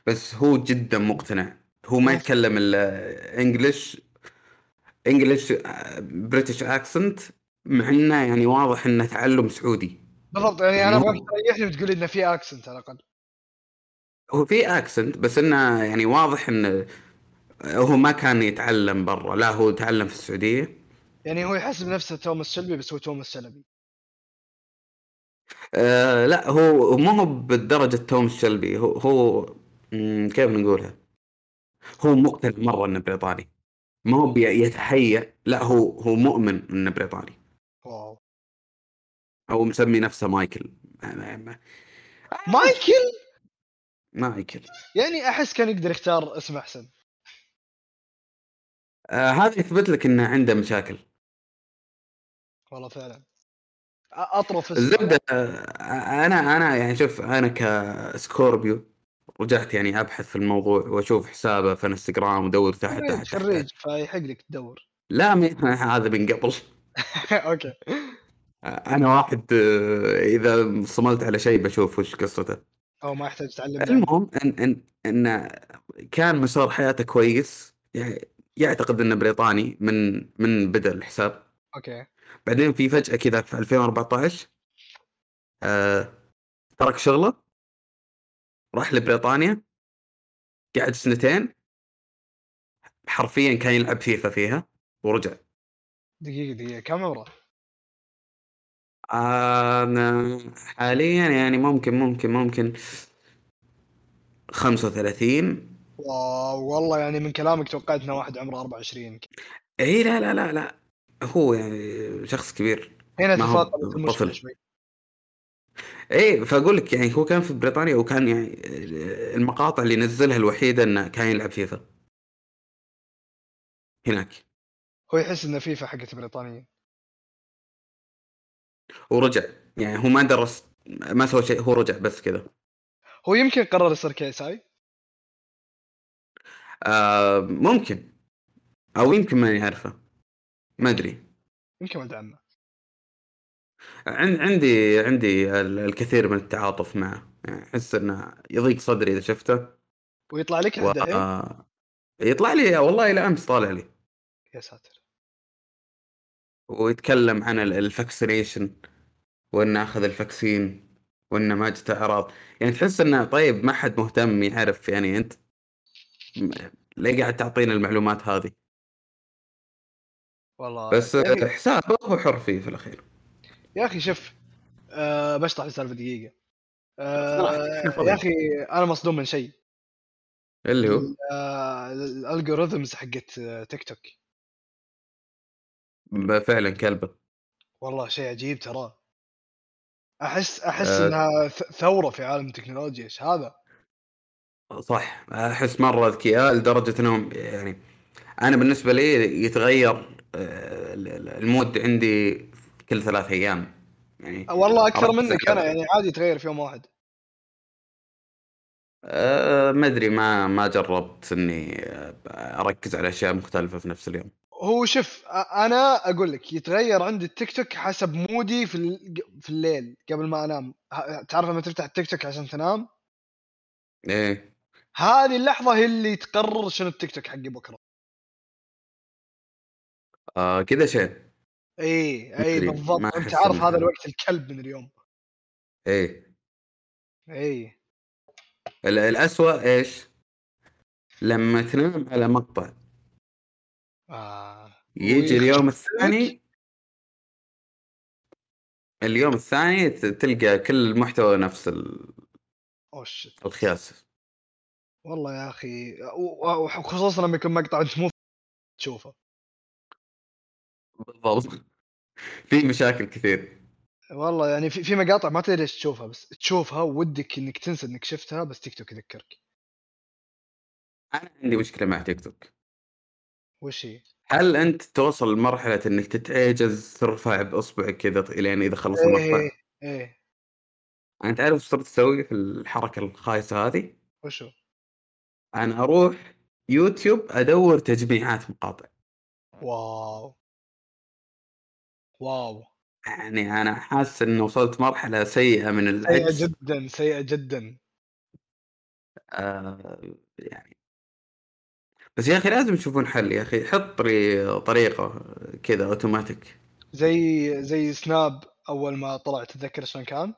S1: بس هو جدا مقتنع هو ما
S2: ماشي.
S1: يتكلم الا انجلش انجلش بريتش اكسنت آه، مع انه يعني واضح انه تعلم سعودي
S2: بالضبط يعني انا
S1: يعني هو-
S2: ابغاك تريحني وتقول لي انه في اكسنت على الاقل
S1: هو في اكسنت بس انه يعني واضح انه هو ما كان يتعلم برا لا هو تعلم في السعوديه
S2: يعني هو يحسب نفسه توماس شلبي بس هو توماس شلبي
S1: آه لا هو مو هو بالدرجة توم شلبي هو هو مم، كيف نقولها؟ هو مقتنع مرة انه بريطاني ما هو بي- يتحيأ لا هو هو مؤمن انه بريطاني
S2: واو
S1: او مسمي نفسه مايكل ما- ما- ما-
S2: مايكل
S1: مايكل
S2: يعني احس كان يقدر يختار اسم احسن
S1: آه هذا يثبت لك انه عنده مشاكل
S2: والله فعلا أ- اطرف اسم
S1: الزبدة آه انا انا يعني شوف انا كسكوربيو رجعت يعني ابحث في الموضوع واشوف حسابه في انستغرام ودور تحت
S2: خريج
S1: تحت تحت, تحت.
S2: خريج فيحق لك تدور
S1: لا ما- هذا من قبل
S2: اوكي
S1: انا واحد آه، اذا صملت على شيء بشوف وش قصته
S2: او ما يحتاج يعني. تعلمنا
S1: المهم ان ان ان كان مسار حياته كويس يعني يعتقد انه بريطاني من من بدا الحساب
S2: اوكي
S1: بعدين في فجاه كذا في 2014 آه، ترك شغله راح لبريطانيا قعد سنتين حرفيا كان يلعب فيفا فيها ورجع
S2: دقيقه دقيقه كم عمره؟
S1: انا حاليا آه، يعني ممكن ممكن ممكن 35
S2: واو والله يعني من كلامك توقعت انه واحد عمره 24
S1: اي إيه، لا لا لا لا هو يعني شخص كبير
S2: هنا
S1: ما هو
S2: تفاقمت المشكله
S1: طفل
S2: شوي
S1: ايه فاقول لك يعني هو كان في بريطانيا وكان يعني المقاطع اللي نزلها الوحيده انه كان يلعب فيفا هناك
S2: هو يحس ان فيفا حقت بريطانيا
S1: ورجع يعني هو ما درس ما سوى شيء هو رجع بس كذا
S2: هو يمكن قرر يصير كي اس اي
S1: آه ممكن او يمكن ماني عارفه ما ادري
S2: يمكن ولد عمه
S1: عن- عندي عندي ال- الكثير من التعاطف معه يعني احس انه يضيق صدري اذا شفته
S2: ويطلع لك إيه؟
S1: و...
S2: عنده عيب
S1: يطلع لي والله الى امس طالع لي
S2: يا ساتر
S1: ويتكلم عن الفاكسينيشن وانه اخذ الفاكسين وانه ما جت اعراض يعني تحس انه طيب ما حد مهتم يعرف يعني انت م- ليه قاعد تعطينا المعلومات هذه
S2: والله
S1: بس آه.
S2: يا أخي-
S1: حسابه هو حر فيه في الاخير
S2: يا اخي شوف أه بشطح السالفه دقيقه
S1: صراحة،
S2: أه
S1: تفضل.
S2: يا اخي انا مصدوم من شيء
S1: اللي هو
S2: الالجوريثمز حقت آه، تيك توك
S1: ب- فعلا كلبه
S2: والله شيء عجيب ترى احس احس
S1: آه.
S2: انها ث- ثوره في عالم التكنولوجيا ايش هذا
S1: صح احس مره اذكياء لدرجه انهم يعني انا بالنسبه لي يتغير آه، ال- ال- المود عندي كل ثلاث ايام يعني
S2: والله اكثر
S1: أركز
S2: منك
S1: على-
S2: انا يعني عادي تغير في يوم واحد
S1: آه، ما ادري ما ما جربت اني آه، اركز على اشياء مختلفه في نفس اليوم
S2: هو شوف أ- انا اقول لك يتغير عندي التيك توك حسب مودي في ال- في الليل قبل ما انام ه- تعرف لما تفتح التيك توك عشان تنام
S1: ايه
S2: هذه اللحظه هي اللي تقرر شنو التيك توك حقي بكره
S1: آه كذا شيء
S2: اي اي
S1: مدري، ما
S2: بالضبط انت
S1: أحس
S2: عارف
S1: إنها حلوة.
S2: هذا الوقت الكلب من اليوم
S1: ايه
S2: اي
S1: ال- الاسوأ ايش؟ لما تنام على مقطع
S2: آه.
S1: يجي اليوم الثاني
S2: ويخربك.
S1: اليوم الثاني ت- تلقى كل المحتوى نفس ال-
S2: اوه شت
S1: الخياس
S2: والله يا اخي و- و- وخصوصا لما يكون مقطع انت مو تشوفه
S1: بالضبط في مشاكل كثير
S2: والله يعني في في مقاطع ما تدري ايش تشوفها بس تشوفها ودك انك تنسى انك شفتها بس تيك توك يذكرك
S1: انا عندي مشكله مع تيك توك
S2: وش هي؟
S1: هل انت توصل لمرحله انك تتعجز ترفع باصبعك كذا ط- لين اذا خلص المقطع
S2: ايه ايه
S1: انا تعرف ايش صرت اسوي في الحركه الخايسه هذه
S2: وشو؟
S1: انا اروح يوتيوب ادور تجميعات مقاطع
S2: واو واو
S1: يعني انا حاسس اني وصلت مرحله سيئه من
S2: سيئة
S1: العجز
S2: جدا سيئة جدا
S1: آه، يعني بس يا اخي لازم يشوفون حل يا اخي حط لي طريقه كذا اوتوماتيك
S2: زي زي سناب اول ما طلع تتذكر شلون كان؟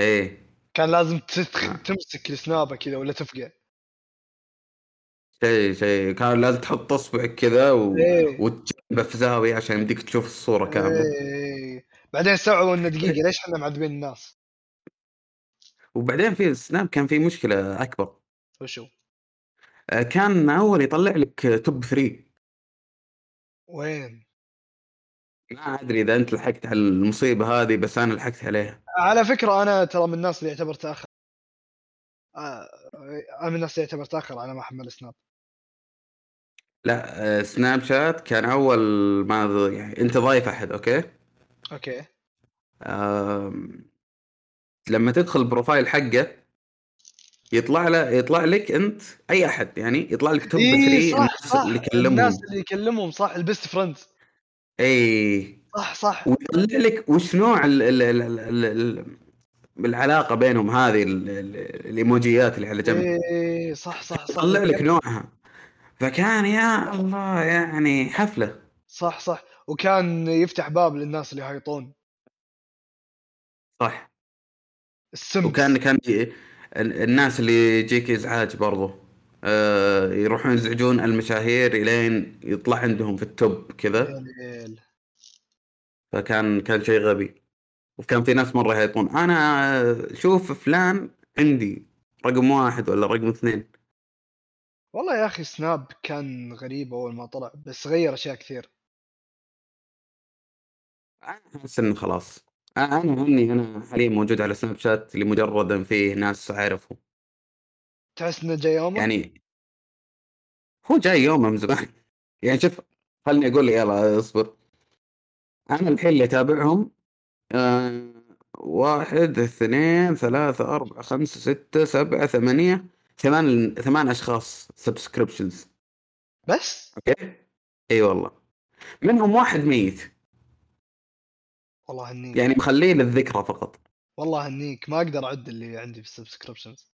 S1: ايه
S2: كان لازم تتخ... تمسك السنابه كذا ولا تفقع
S1: شيء شيء كان لازم تحط اصبعك كذا و...
S2: إيه.
S1: وتجنبه في زاويه عشان يمديك تشوف الصوره كامله
S2: إيه. بعدين استوعبوا انه دقيقه ليش احنا معذبين الناس؟
S1: وبعدين في السناب كان في مشكله اكبر
S2: وشو؟
S1: آه، كان اول يطلع لك آه، توب 3
S2: وين؟
S1: ما ادري اذا انت لحقت على المصيبه هذه بس انا لحقت عليها
S2: على فكره انا ترى من الناس اللي يعتبر تاخر آه، انا من الناس اللي يعتبر تاخر على ما حمل سناب
S1: لا آه، سناب شات كان اول ما ض- يعني انت ضايف احد اوكي
S2: اوكي
S1: آم، آمم، لما تدخل البروفايل حقه يطلع له يطلع لك انت اي احد يعني يطلع لك توب 3
S2: اي إيه، صح
S1: الناس
S2: صح
S1: اللي كلمهم
S2: الناس اللي يكلمهم صح البيست فريندز
S1: اي
S2: صح صح
S1: إيه، ويطلع لك وش نوع ال ال ال ال ال ال العلاقه بينهم هذه ال- ال- الايموجيات اللي على جنب
S2: اي صح إيه، صح صح
S1: يطلع لك نوعها فكان يا الله يعني حفله
S2: صح صح وكان يفتح باب للناس اللي يهايطون
S1: صح
S2: السمس
S1: وكان كان ي- ال- الناس اللي يجيك ازعاج برضو آه، يروحون يزعجون المشاهير الين يطلع عندهم في التوب كذا
S2: ليل.
S1: فكان كان شيء غبي وكان في ناس مره يهيطون انا شوف فلان عندي رقم واحد ولا رقم اثنين
S2: والله يا اخي سناب كان غريب اول ما طلع بس غير اشياء كثير
S1: انا احس انه خلاص انا عني انا حاليا موجود على سناب شات لمجرد ان فيه ناس اعرفهم
S2: تحس انه جاي يومه
S1: يعني هو جاي يومه من زمان يعني شوف خلني اقول لك يلا اصبر انا الحين اللي اتابعهم آه واحد اثنين ثلاثة أربعة خمسة ستة سبعة ثمانية ثمان ثمان أشخاص سبسكريبشنز
S2: بس
S1: أوكي أي والله منهم واحد ميت
S2: والله هنيك
S1: يعني مخليه للذكرى فقط
S2: والله هنيك ما اقدر اعد اللي عندي في السبسكربشنز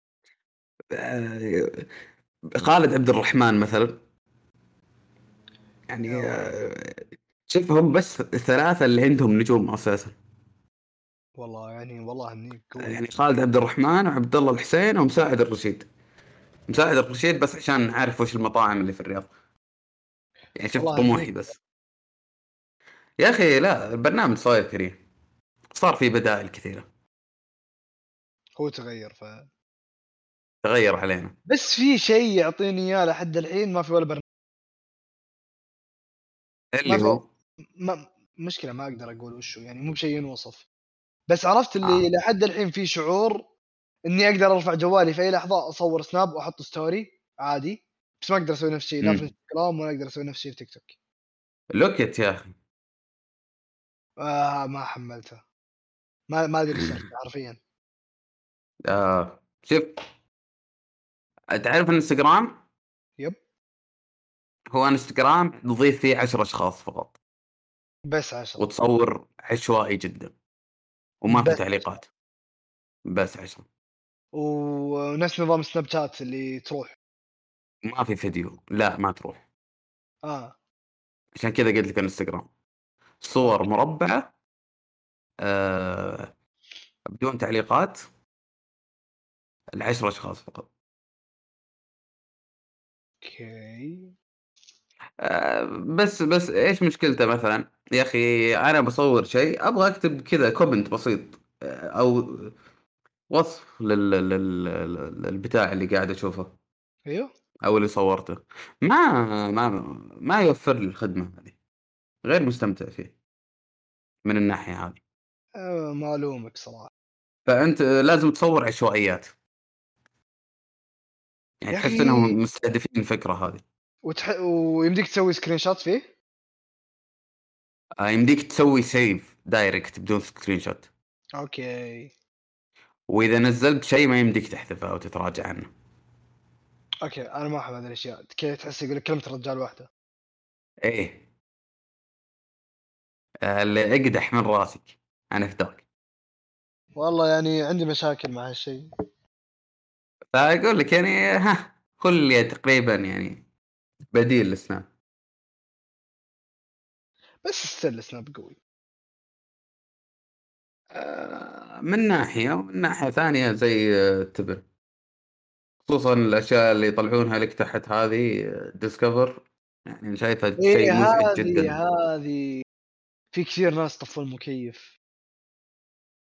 S1: آه، خالد عبد الرحمن مثلا يعني آه، شوف هم بس الثلاثة اللي عندهم نجوم أساسا
S2: والله يعني والله هنيك قوي.
S1: يعني خالد عبد الرحمن وعبد الله الحسين ومساعد الرشيد مساعد الرشيد بس عشان عارف وش المطاعم اللي في الرياض يعني شوف
S2: والله
S1: طموحي
S2: أكيد.
S1: بس يا أخي لا البرنامج صاير كريم صار في بدائل كثيرة
S2: هو تغير ف
S1: تغير علينا
S2: بس في شيء يعطيني اياه لحد الحين ما في ولا برنامج ما
S1: اللي
S2: في-
S1: هو
S2: ما مشكله ما اقدر اقول وشو يعني مو بشيء ينوصف بس عرفت اللي آه. لحد الحين في شعور اني اقدر ارفع جوالي في اي لحظه اصور سناب واحط ستوري عادي بس ما اقدر اسوي نفس الشيء لا
S1: مم.
S2: في انستغرام ولا اقدر اسوي نفس الشيء في تيك توك
S1: لوكيت يا أخي
S2: آه ما حملته ما ما ادري إيش صار حرفيا
S1: آه شوف تعرف الانستغرام؟
S2: يب.
S1: هو انستغرام تضيف فيه 10 اشخاص فقط
S2: بس عشرة
S1: وتصور عشوائي جدا وما في
S2: بس.
S1: تعليقات بس 10
S2: ونفس نظام سناب شات اللي تروح
S1: ما في فيديو لا ما تروح
S2: اه
S1: عشان كذا قلت لك انستغرام صور مربعه آه بدون تعليقات العشرة اشخاص فقط
S2: اوكي
S1: آه بس بس ايش مشكلته مثلا يا اخي انا بصور شيء ابغى اكتب كذا كومنت بسيط آه، او وصف لل... لل... لل- للبتاع اللي قاعد اشوفه
S2: ايوه
S1: او اللي صورته ما ما ما يوفر لي الخدمه هذه غير مستمتع فيه من الناحيه هذه
S2: آه ما الومك صراحه
S1: فانت لازم تصور عشوائيات يعني
S2: يا
S1: تحس
S2: أخي.
S1: انهم مستهدفين الفكره هذه
S2: وتح... ويمديك تسوي سكرين شوت فيه
S1: آه، يمديك تسوي سيف دايركت بدون سكرين شوت
S2: اوكي
S1: واذا نزلت شيء ما يمديك تحذفه او تتراجع عنه
S2: اوكي انا ما احب هذه الاشياء كذا تحس يقول لك كلمه الرجال واحده
S1: ايه آه، اللي اقدح من راسك انا فداك
S2: والله يعني عندي مشاكل مع هالشيء
S1: فاقول لك يعني ها كل تقريبا يعني بديل لسناب
S2: بس ستيل سناب قوي
S1: آه، من ناحيه ومن ناحيه ثانيه زي آه، تبر خصوصا الاشياء اللي يطلعونها لك تحت هذه ديسكفر يعني شايفها
S2: ايه
S1: شيء مزعج
S2: هذه
S1: جدا
S2: هذه في كثير ناس طفوا المكيف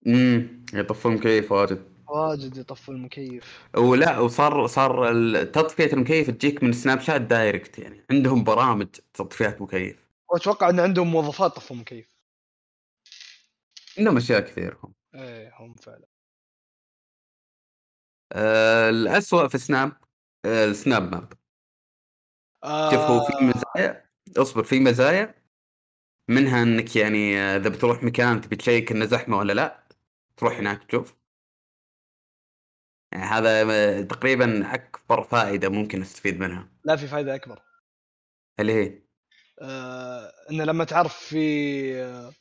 S1: امم يطفون كيف واجد
S2: واجد يطفوا المكيف
S1: ولا وصار صار ال- تطفيه المكيف تجيك من سناب شات دايركت يعني عندهم برامج تطفيات مكيف
S2: واتوقع ان عندهم موظفات طفوا مكيف
S1: عندهم اشياء كثير هم
S2: ايه هم فعلا
S1: أه الاسوء في سناب أه السناب ماب شوف هو
S2: آه.
S1: في مزايا اصبر في مزايا منها انك يعني آه، اذا بتروح مكان تبي تشيك انه زحمه ولا لا تروح هناك تشوف يعني هذا آه، تقريبا اكبر فائده ممكن استفيد منها
S2: لا في فائده اكبر
S1: اللي هي
S2: آه انه لما تعرف في آه،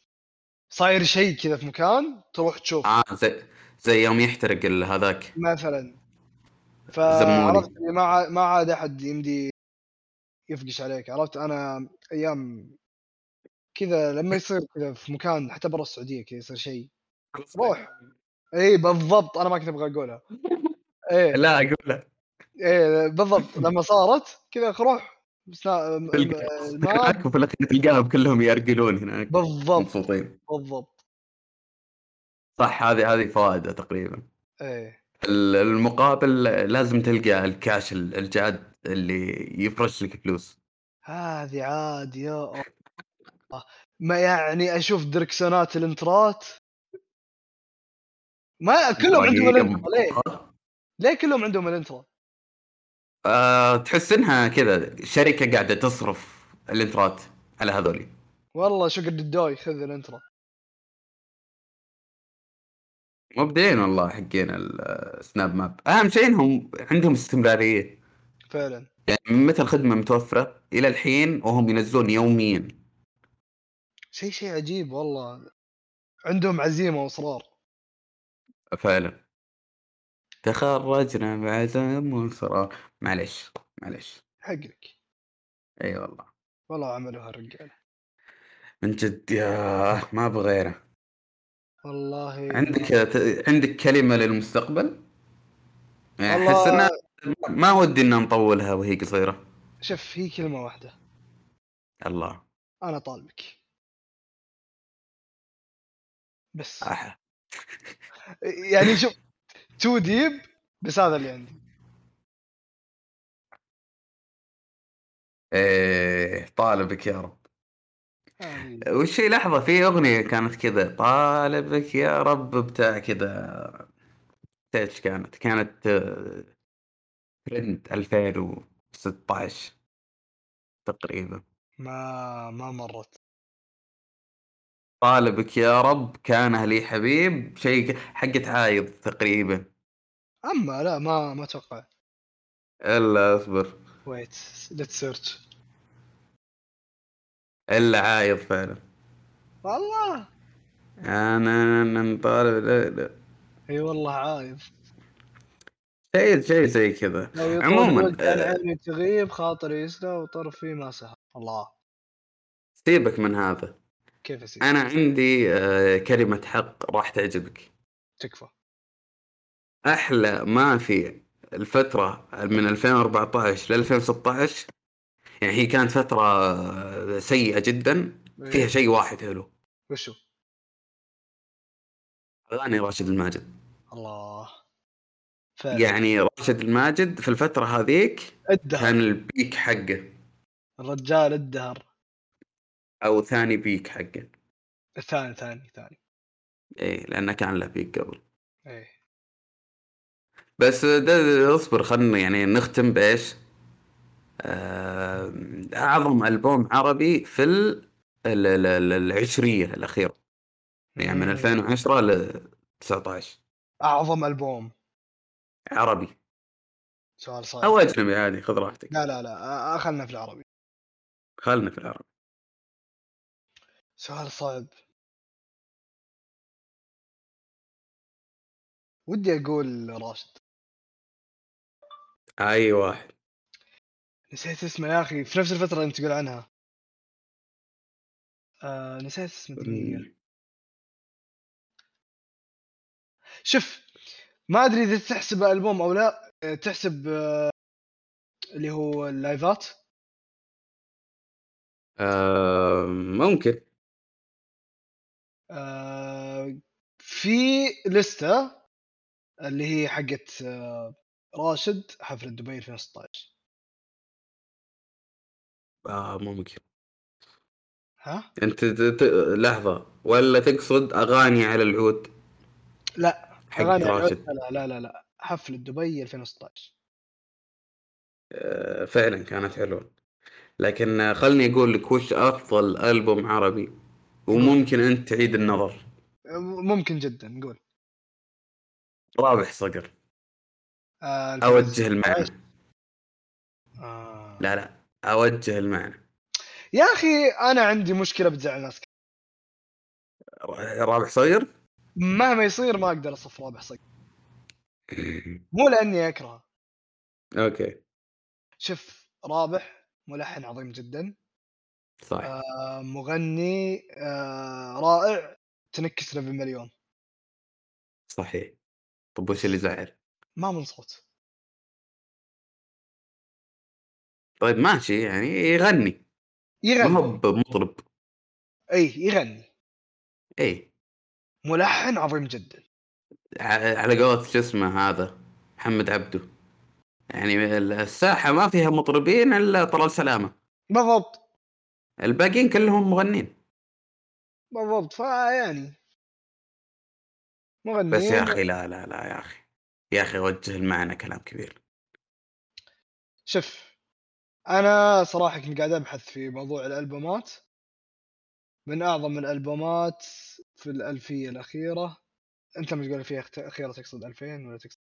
S2: صاير شيء كذا في مكان تروح تشوف
S1: آه زي, زي يوم يحترق ال- هذاك
S2: مثلا
S1: زموني.
S2: فعرفت اللي يعني ما عاد- ما عاد احد يمدي يفقش عليك عرفت انا ايام كذا لما يصير كذا في مكان حتى برا السعوديه كذا يصير شيء روح اي بالضبط انا ما كنت ابغى اقولها اي
S1: لا اقول
S2: اي بالضبط لما صارت كذا أخ روح سنا- م- م- ما-
S1: هناك وفي الاخير تلقاهم كلهم يرقلون هناك
S2: بالضبط
S1: مبسوطين
S2: بالضبط
S1: صح هذه هذه فوائده تقريبا
S2: اي
S1: ال- المقابل لازم تلقى الكاش ال- الجاد اللي يفرش لك فلوس
S2: هذه عاد يا الله ما يعني اشوف دركسونات الانترات ما كلهم عندهم
S1: دقيقة.
S2: الانترا ليه؟ ليه كلهم عندهم الانترا؟
S1: آه، تحس انها كذا شركه قاعده تصرف الانترات على هذولي
S2: والله شقر الدوي خذ الانترا
S1: مبدعين والله حقين السناب ماب اهم شيء انهم عندهم استمراريه
S2: فعلا
S1: يعني من متى الخدمه متوفره الى الحين وهم ينزلون يوميا
S2: شيء شيء عجيب والله عندهم عزيمه واصرار
S1: فعلا تخرجنا بعزم وانصرار معلش معلش
S2: حقك
S1: اي والله
S2: والله عملوها الرجال
S1: من جد يا ما بغيره
S2: والله
S1: عندك عندك كلمه للمستقبل؟ يعني احس
S2: والله-
S1: انها ما ودي ان نطولها وهي قصيره
S2: شوف هي كلمه واحده
S1: الله
S2: انا طالبك بس
S1: أح-
S2: يعني شوف تو ديب بس هذا اللي عندي
S1: ايه طالبك يا رب
S2: آمين.
S1: والشي لحظه في اغنيه كانت كذا طالبك يا رب بتاع كذا ايش كانت كانت آه، ترند 2016 تقريبا
S2: ما ما مرت
S1: طالبك يا رب كان لي حبيب شيء ك- حقت عايض تقريبا
S2: اما لا ما ما اتوقع
S1: الا اصبر
S2: ويت ليت سيرش
S1: الا عايض فعلا
S2: والله
S1: انا أنا نطالب لا- لا.
S2: اي والله عايض
S1: شيء شيء زي كذا
S2: لو يطول
S1: عموماً،
S2: الوجه عن
S1: آه.
S2: عيني تغيب خاطري يسلى وطرفي ما سهى الله
S1: سيبك من هذا
S2: كيف اسير
S1: انا عندي آه، كلمه حق راح تعجبك
S2: تكفى
S1: احلى ما في الفتره من 2014 ل 2016 يعني هي كانت فتره آه، سيئه جدا فيها
S2: إيه،
S1: شيء واحد حلو
S2: وشو
S1: اغاني راشد الماجد
S2: الله فعلا
S1: يعني راشد الماجد في الفتره هذيك
S2: الدهر
S1: كان البيك حقه
S2: الرجال الدهر
S1: او ثاني بيك حقه
S2: الثاني ثاني ثاني
S1: ايه لانه كان له بيك قبل
S2: ايه
S1: بس ده ده- اصبر خلنا يعني نختم بايش؟ آه، اعظم البوم عربي في ال ال- ال- ال- العشريه الاخيره يعني من
S2: مم.
S1: 2010 ل 19
S2: اعظم البوم
S1: عربي
S2: سؤال صعب
S1: او اجنبي عادي خذ راحتك
S2: لا لا لا آه، خلنا في العربي
S1: خلنا في العربي
S2: سؤال صعب ودي اقول راشد
S1: اي واحد
S2: نسيت اسمه يا اخي في نفس الفتره اللي انت تقول عنها آه نسيت اسمه دقيقه شوف ما ادري اذا تحسب البوم او لا آه، تحسب آه، اللي هو اللايفات
S1: آه، ممكن
S2: آه، في لستة اللي هي حقت آه، راشد حفلة دبي 2016
S1: آه ممكن
S2: ها؟
S1: انت ت- ت- لحظه ولا تقصد اغاني على العود
S2: لا
S1: حق
S2: أغاني العود-
S1: راشد
S2: لا لا لا لا حفلة دبي 2016
S1: آه، فعلا كانت حلوه لكن آه، خلني اقول لك وش افضل البوم عربي وممكن انت تعيد النظر
S2: آه، ممكن جدا نقول
S1: رابح صقر
S2: آه،
S1: اوجه المعنى
S2: آه.
S1: لا لا اوجه المعنى
S2: يا أخي أنا عندي مشكلة بتزعل ناس كثير.
S1: ر- رابح صقر
S2: مهما يصير ما أقدر أصف رابح صقر مو لأني أكرهه
S1: اوكي
S2: شوف رابح ملحن عظيم جدا
S1: صح
S2: آه، مغني آه، رائع تنكسنا بالمليون
S1: صحيح طب وش اللي زعل
S2: ما من صوت
S1: طيب ماشي يعني يغني ما هو
S2: يغني
S1: بمطرب إيه،
S2: اي يغني
S1: اي
S2: ملحن عظيم جدا
S1: ع- على قولة شو اسمه هذا محمد عبده يعني الساحه ما فيها مطربين الا طلال سلامه
S2: بالضبط
S1: الباقيين كلهم مغنين
S2: بالضبط فيعني مغنيين
S1: بس يا اخي لا لا لا يا اخي يا اخي وجه المعنى كلام كبير
S2: شوف انا صراحه كنت قاعد ابحث في موضوع الالبومات من اعظم الالبومات في الالفيه الاخيره انت لما تقول الالفيه أخت- الاخيره تقصد 2000 ولا تقصد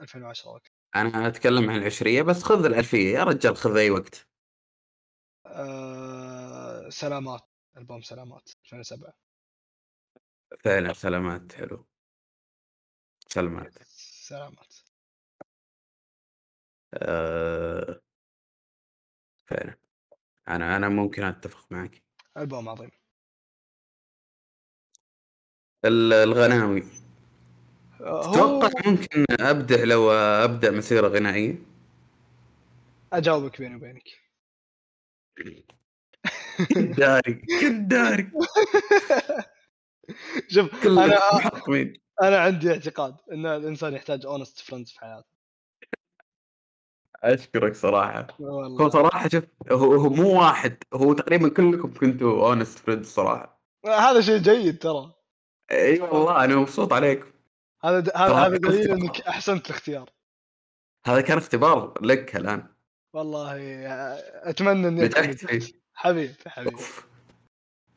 S2: 2010 وقت
S1: انا اتكلم عن العشريه بس خذ الالفيه يا رجال خذ اي وقت
S2: أه سلامات البوم سلامات 2007
S1: فعلا سلامات حلو سلامات
S2: سلامات
S1: أه... فعلا انا انا ممكن اتفق معك
S2: البوم عظيم
S1: ال- الغناوي
S2: آه، هو
S1: تتوقع ممكن ابدع لو ابدا مسيره غنائيه
S2: اجاوبك بيني وبينك
S1: كنت داري كنت داري
S2: شوف
S1: كلنا
S2: أنا- آه.
S1: محطمين
S2: انا عندي اعتقاد ان الانسان يحتاج اونست فريندز في حياته
S1: اشكرك صراحه هو
S2: والله
S1: صراحه شوف هو, هو مو واحد هو تقريبا كلكم كنتوا اونست فريندز صراحه
S2: هذا شيء جيد ترى
S1: اي والله انا مبسوط عليكم
S2: هذا د- هذا
S1: طبعاً
S2: هذا
S1: اختيار.
S2: دليل انك احسنت الاختيار
S1: هذا كان اختبار لك الان
S2: والله آه، اتمنى اني أكون
S1: نجحت
S2: نجحت. حبيب حبيب
S1: إيه. أوف.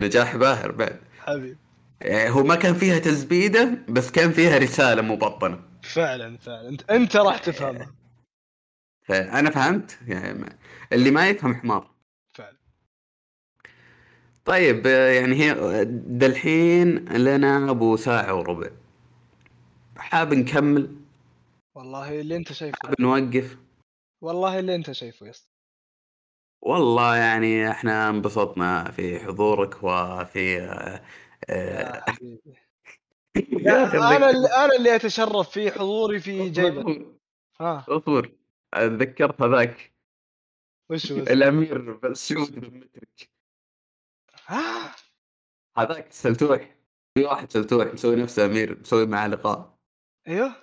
S1: نجاح باهر بعد
S2: حبيب
S1: يعني هو ما كان فيها تزبيده بس كان فيها رساله مبطنه
S2: فعلا فعلا انت انت راح تفهمه
S1: فانا فهمت يعني ما- اللي ما يفهم حمار
S2: فعلا
S1: طيب آه، يعني هي دالحين لنا ابو ساعه وربع حاب نكمل
S2: والله اللي انت شايفه
S1: حاب نوقف
S2: والله اللي انت شايفه يا اسطى
S1: والله يعني احنا انبسطنا في حضورك وفي آه، آه،
S2: يا حبيبي
S1: يا أخي
S2: انا
S1: أتذكر-
S2: اللي انا اللي اتشرف في حضوري في جيبك ها
S1: اصبر اتذكرت هذاك
S2: وش هو اسمه؟
S1: الامير بسعود بن مترك
S2: ها؟
S1: هذاك السلتوح في واحد سلتوح مسوي نفسه امير مسوي معاه لقاء
S2: ايوه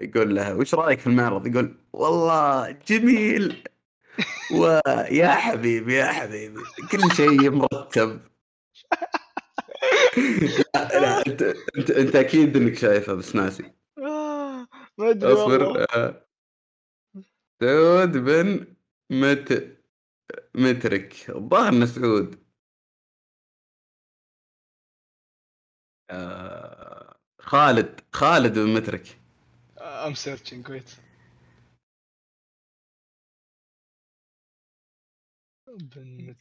S1: يقول له وش رايك في المعرض؟ يقول والله جميل ويا حبيبي يا حبيبي كل شيء مرتب لا, لا انت, انت, انت اكيد انك شايفه بس ناسي
S2: آه، ما ادري والله
S1: اصبر آه. سعود بن مت مترك الظاهر انه سعود آه، خالد خالد بن مترك
S2: ام سيرشنج ويت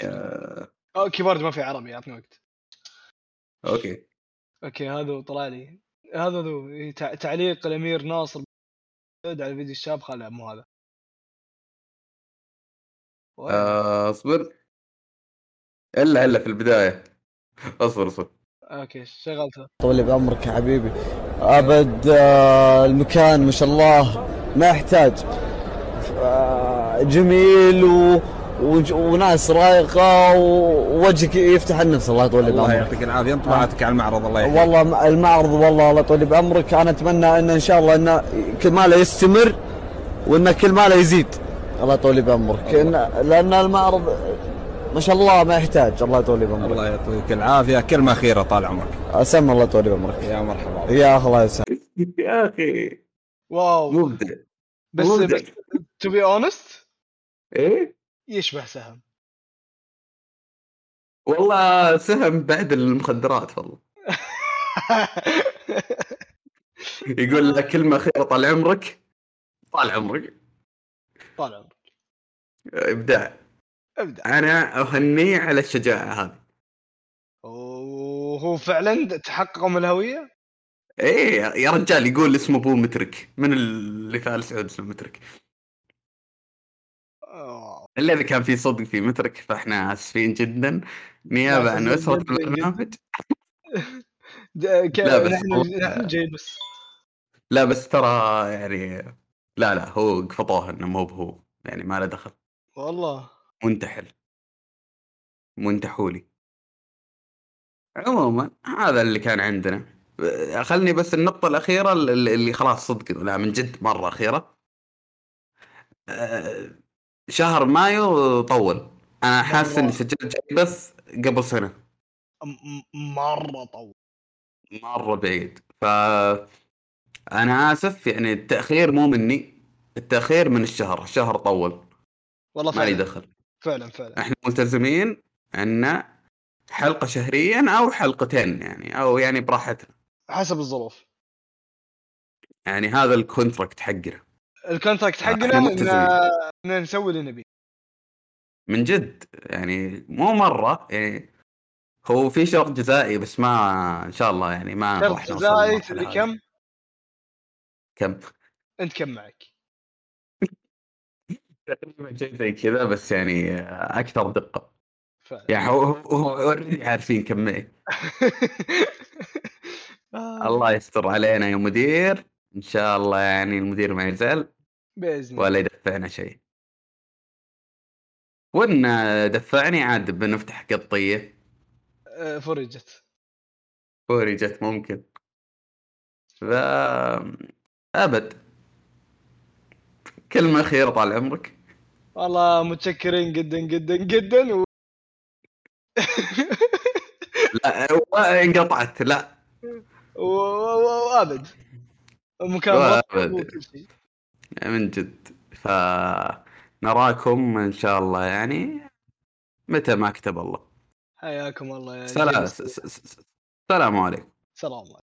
S1: آه،
S2: اوكي برضه ما في عربي عطني وقت
S1: اوكي
S2: اوكي هذا هو طلع لي هذا ذو إيه، تع- تعليق الامير ناصر بن سعود على فيديو الشاب خالد مو هذا وين؟
S1: آه، اصبر الا الا في البدايه اصبر اصبر
S2: اوكي شغلته
S3: طول بعمرك يا حبيبي ابد آه، المكان ما شاء الله ما يحتاج آه، جميل و... وج- وناس رايقه ووجهك يفتح النفس الله يطول
S4: الله
S3: بعمرك
S4: يعطيك العافيه انطباعاتك على المعرض الله يحييك
S3: والله م- المعرض والله الله يطول بعمرك انا اتمنى انه ان شاء الله انه كماله يستمر وانه كل ماله يزيد الله يطول بعمرك إن- لان المعرض ما شاء الله ما يحتاج الله يطول بعمرك
S4: الله يعطيك العافيه كلمه اخيره طال عمرك
S3: اسم الله يطول بعمرك
S4: يا مرحبا
S3: يا الله يسلمك
S1: يا اخي
S2: واو
S1: مبدع
S2: بس
S1: مبدع.
S2: بس تو بي اونست
S1: ايه
S2: يشبه سهم
S1: والله سهم بعد المخدرات والله يقول لك كلمه خير طال عمرك طال عمرك
S2: طال عمرك
S1: ابداع
S2: ابدا
S1: انا اهنيه على الشجاعه هذه
S2: وهو فعلا تحققوا من الهويه
S1: ايه يا رجال يقول اسمه ابو مترك من اللي فعل سعود اسمه مترك
S2: آه،
S1: الا اذا كان في صدق في مترك فاحنا اسفين جدا نيابه عن
S2: آسفين
S1: اسره
S2: جداً
S1: البرنامج
S2: د- ك-
S1: لا، بس
S2: نحن
S1: هو-
S2: نحن جيبس
S1: لا بس ترى يعني لا لا هو قفطوه انه مو بهو يعني ما له دخل
S2: والله
S1: منتحل منتحولي عموما هذا اللي كان عندنا أه، خلني بس النقطة الأخيرة اللي اللي خلاص صدق لا من جد مرة أخيرة أه، شهر مايو طول أنا حاسس إني سجلت بس قبل سنة
S2: م- م- مره طول
S1: مره بعيد ف انا اسف يعني التاخير مو مني التاخير من الشهر الشهر طول
S2: والله
S1: ما لي
S2: فعلا
S1: دخل
S2: فعلا فعلا
S1: احنا ملتزمين ان حلقه شهريا او حلقتين يعني او يعني براحتنا
S2: حسب الظروف
S1: يعني هذا الكونتراكت حقنا
S2: الكونتراكت حقنا
S1: إحنا
S2: ان
S1: ملتزمين.
S2: إن نسوي اللي نبيه
S1: من جد يعني مو مره يعني هو في شرط جزائي بس ما ان شاء الله يعني ما راح
S2: شرط
S1: نوصل
S2: جزائي
S1: للمرحلة
S2: تدري
S1: هذه.
S2: كم
S1: كم
S2: انت كم معك
S1: تقريبا شيء زي كذا بس يعني اكثر دقه
S2: فعلا
S1: يعني هو هو اوريدي عارفين كم معي
S2: آه،
S1: الله يستر علينا يا مدير ان شاء الله يعني المدير ما يزعل
S2: باذن الله
S1: ولا يدفعنا شيء وان دفعني عاد بنفتح قطيه
S2: آه، فرجت
S1: فوري جت ممكن ف ابد كلمه اخيره طال عمرك
S2: والله متشكرين جدا جدا جدا و...
S1: لا انقطعت لا
S2: و... و... وابد مكان
S1: وأبد.
S2: مرتب وكل شيء
S1: من جد ف نراكم ان شاء الله يعني متى ما كتب الله
S2: حياكم الله يا
S1: سلام
S2: جماعة.
S1: س- س- س- السلام عليكم
S2: سلام عليكم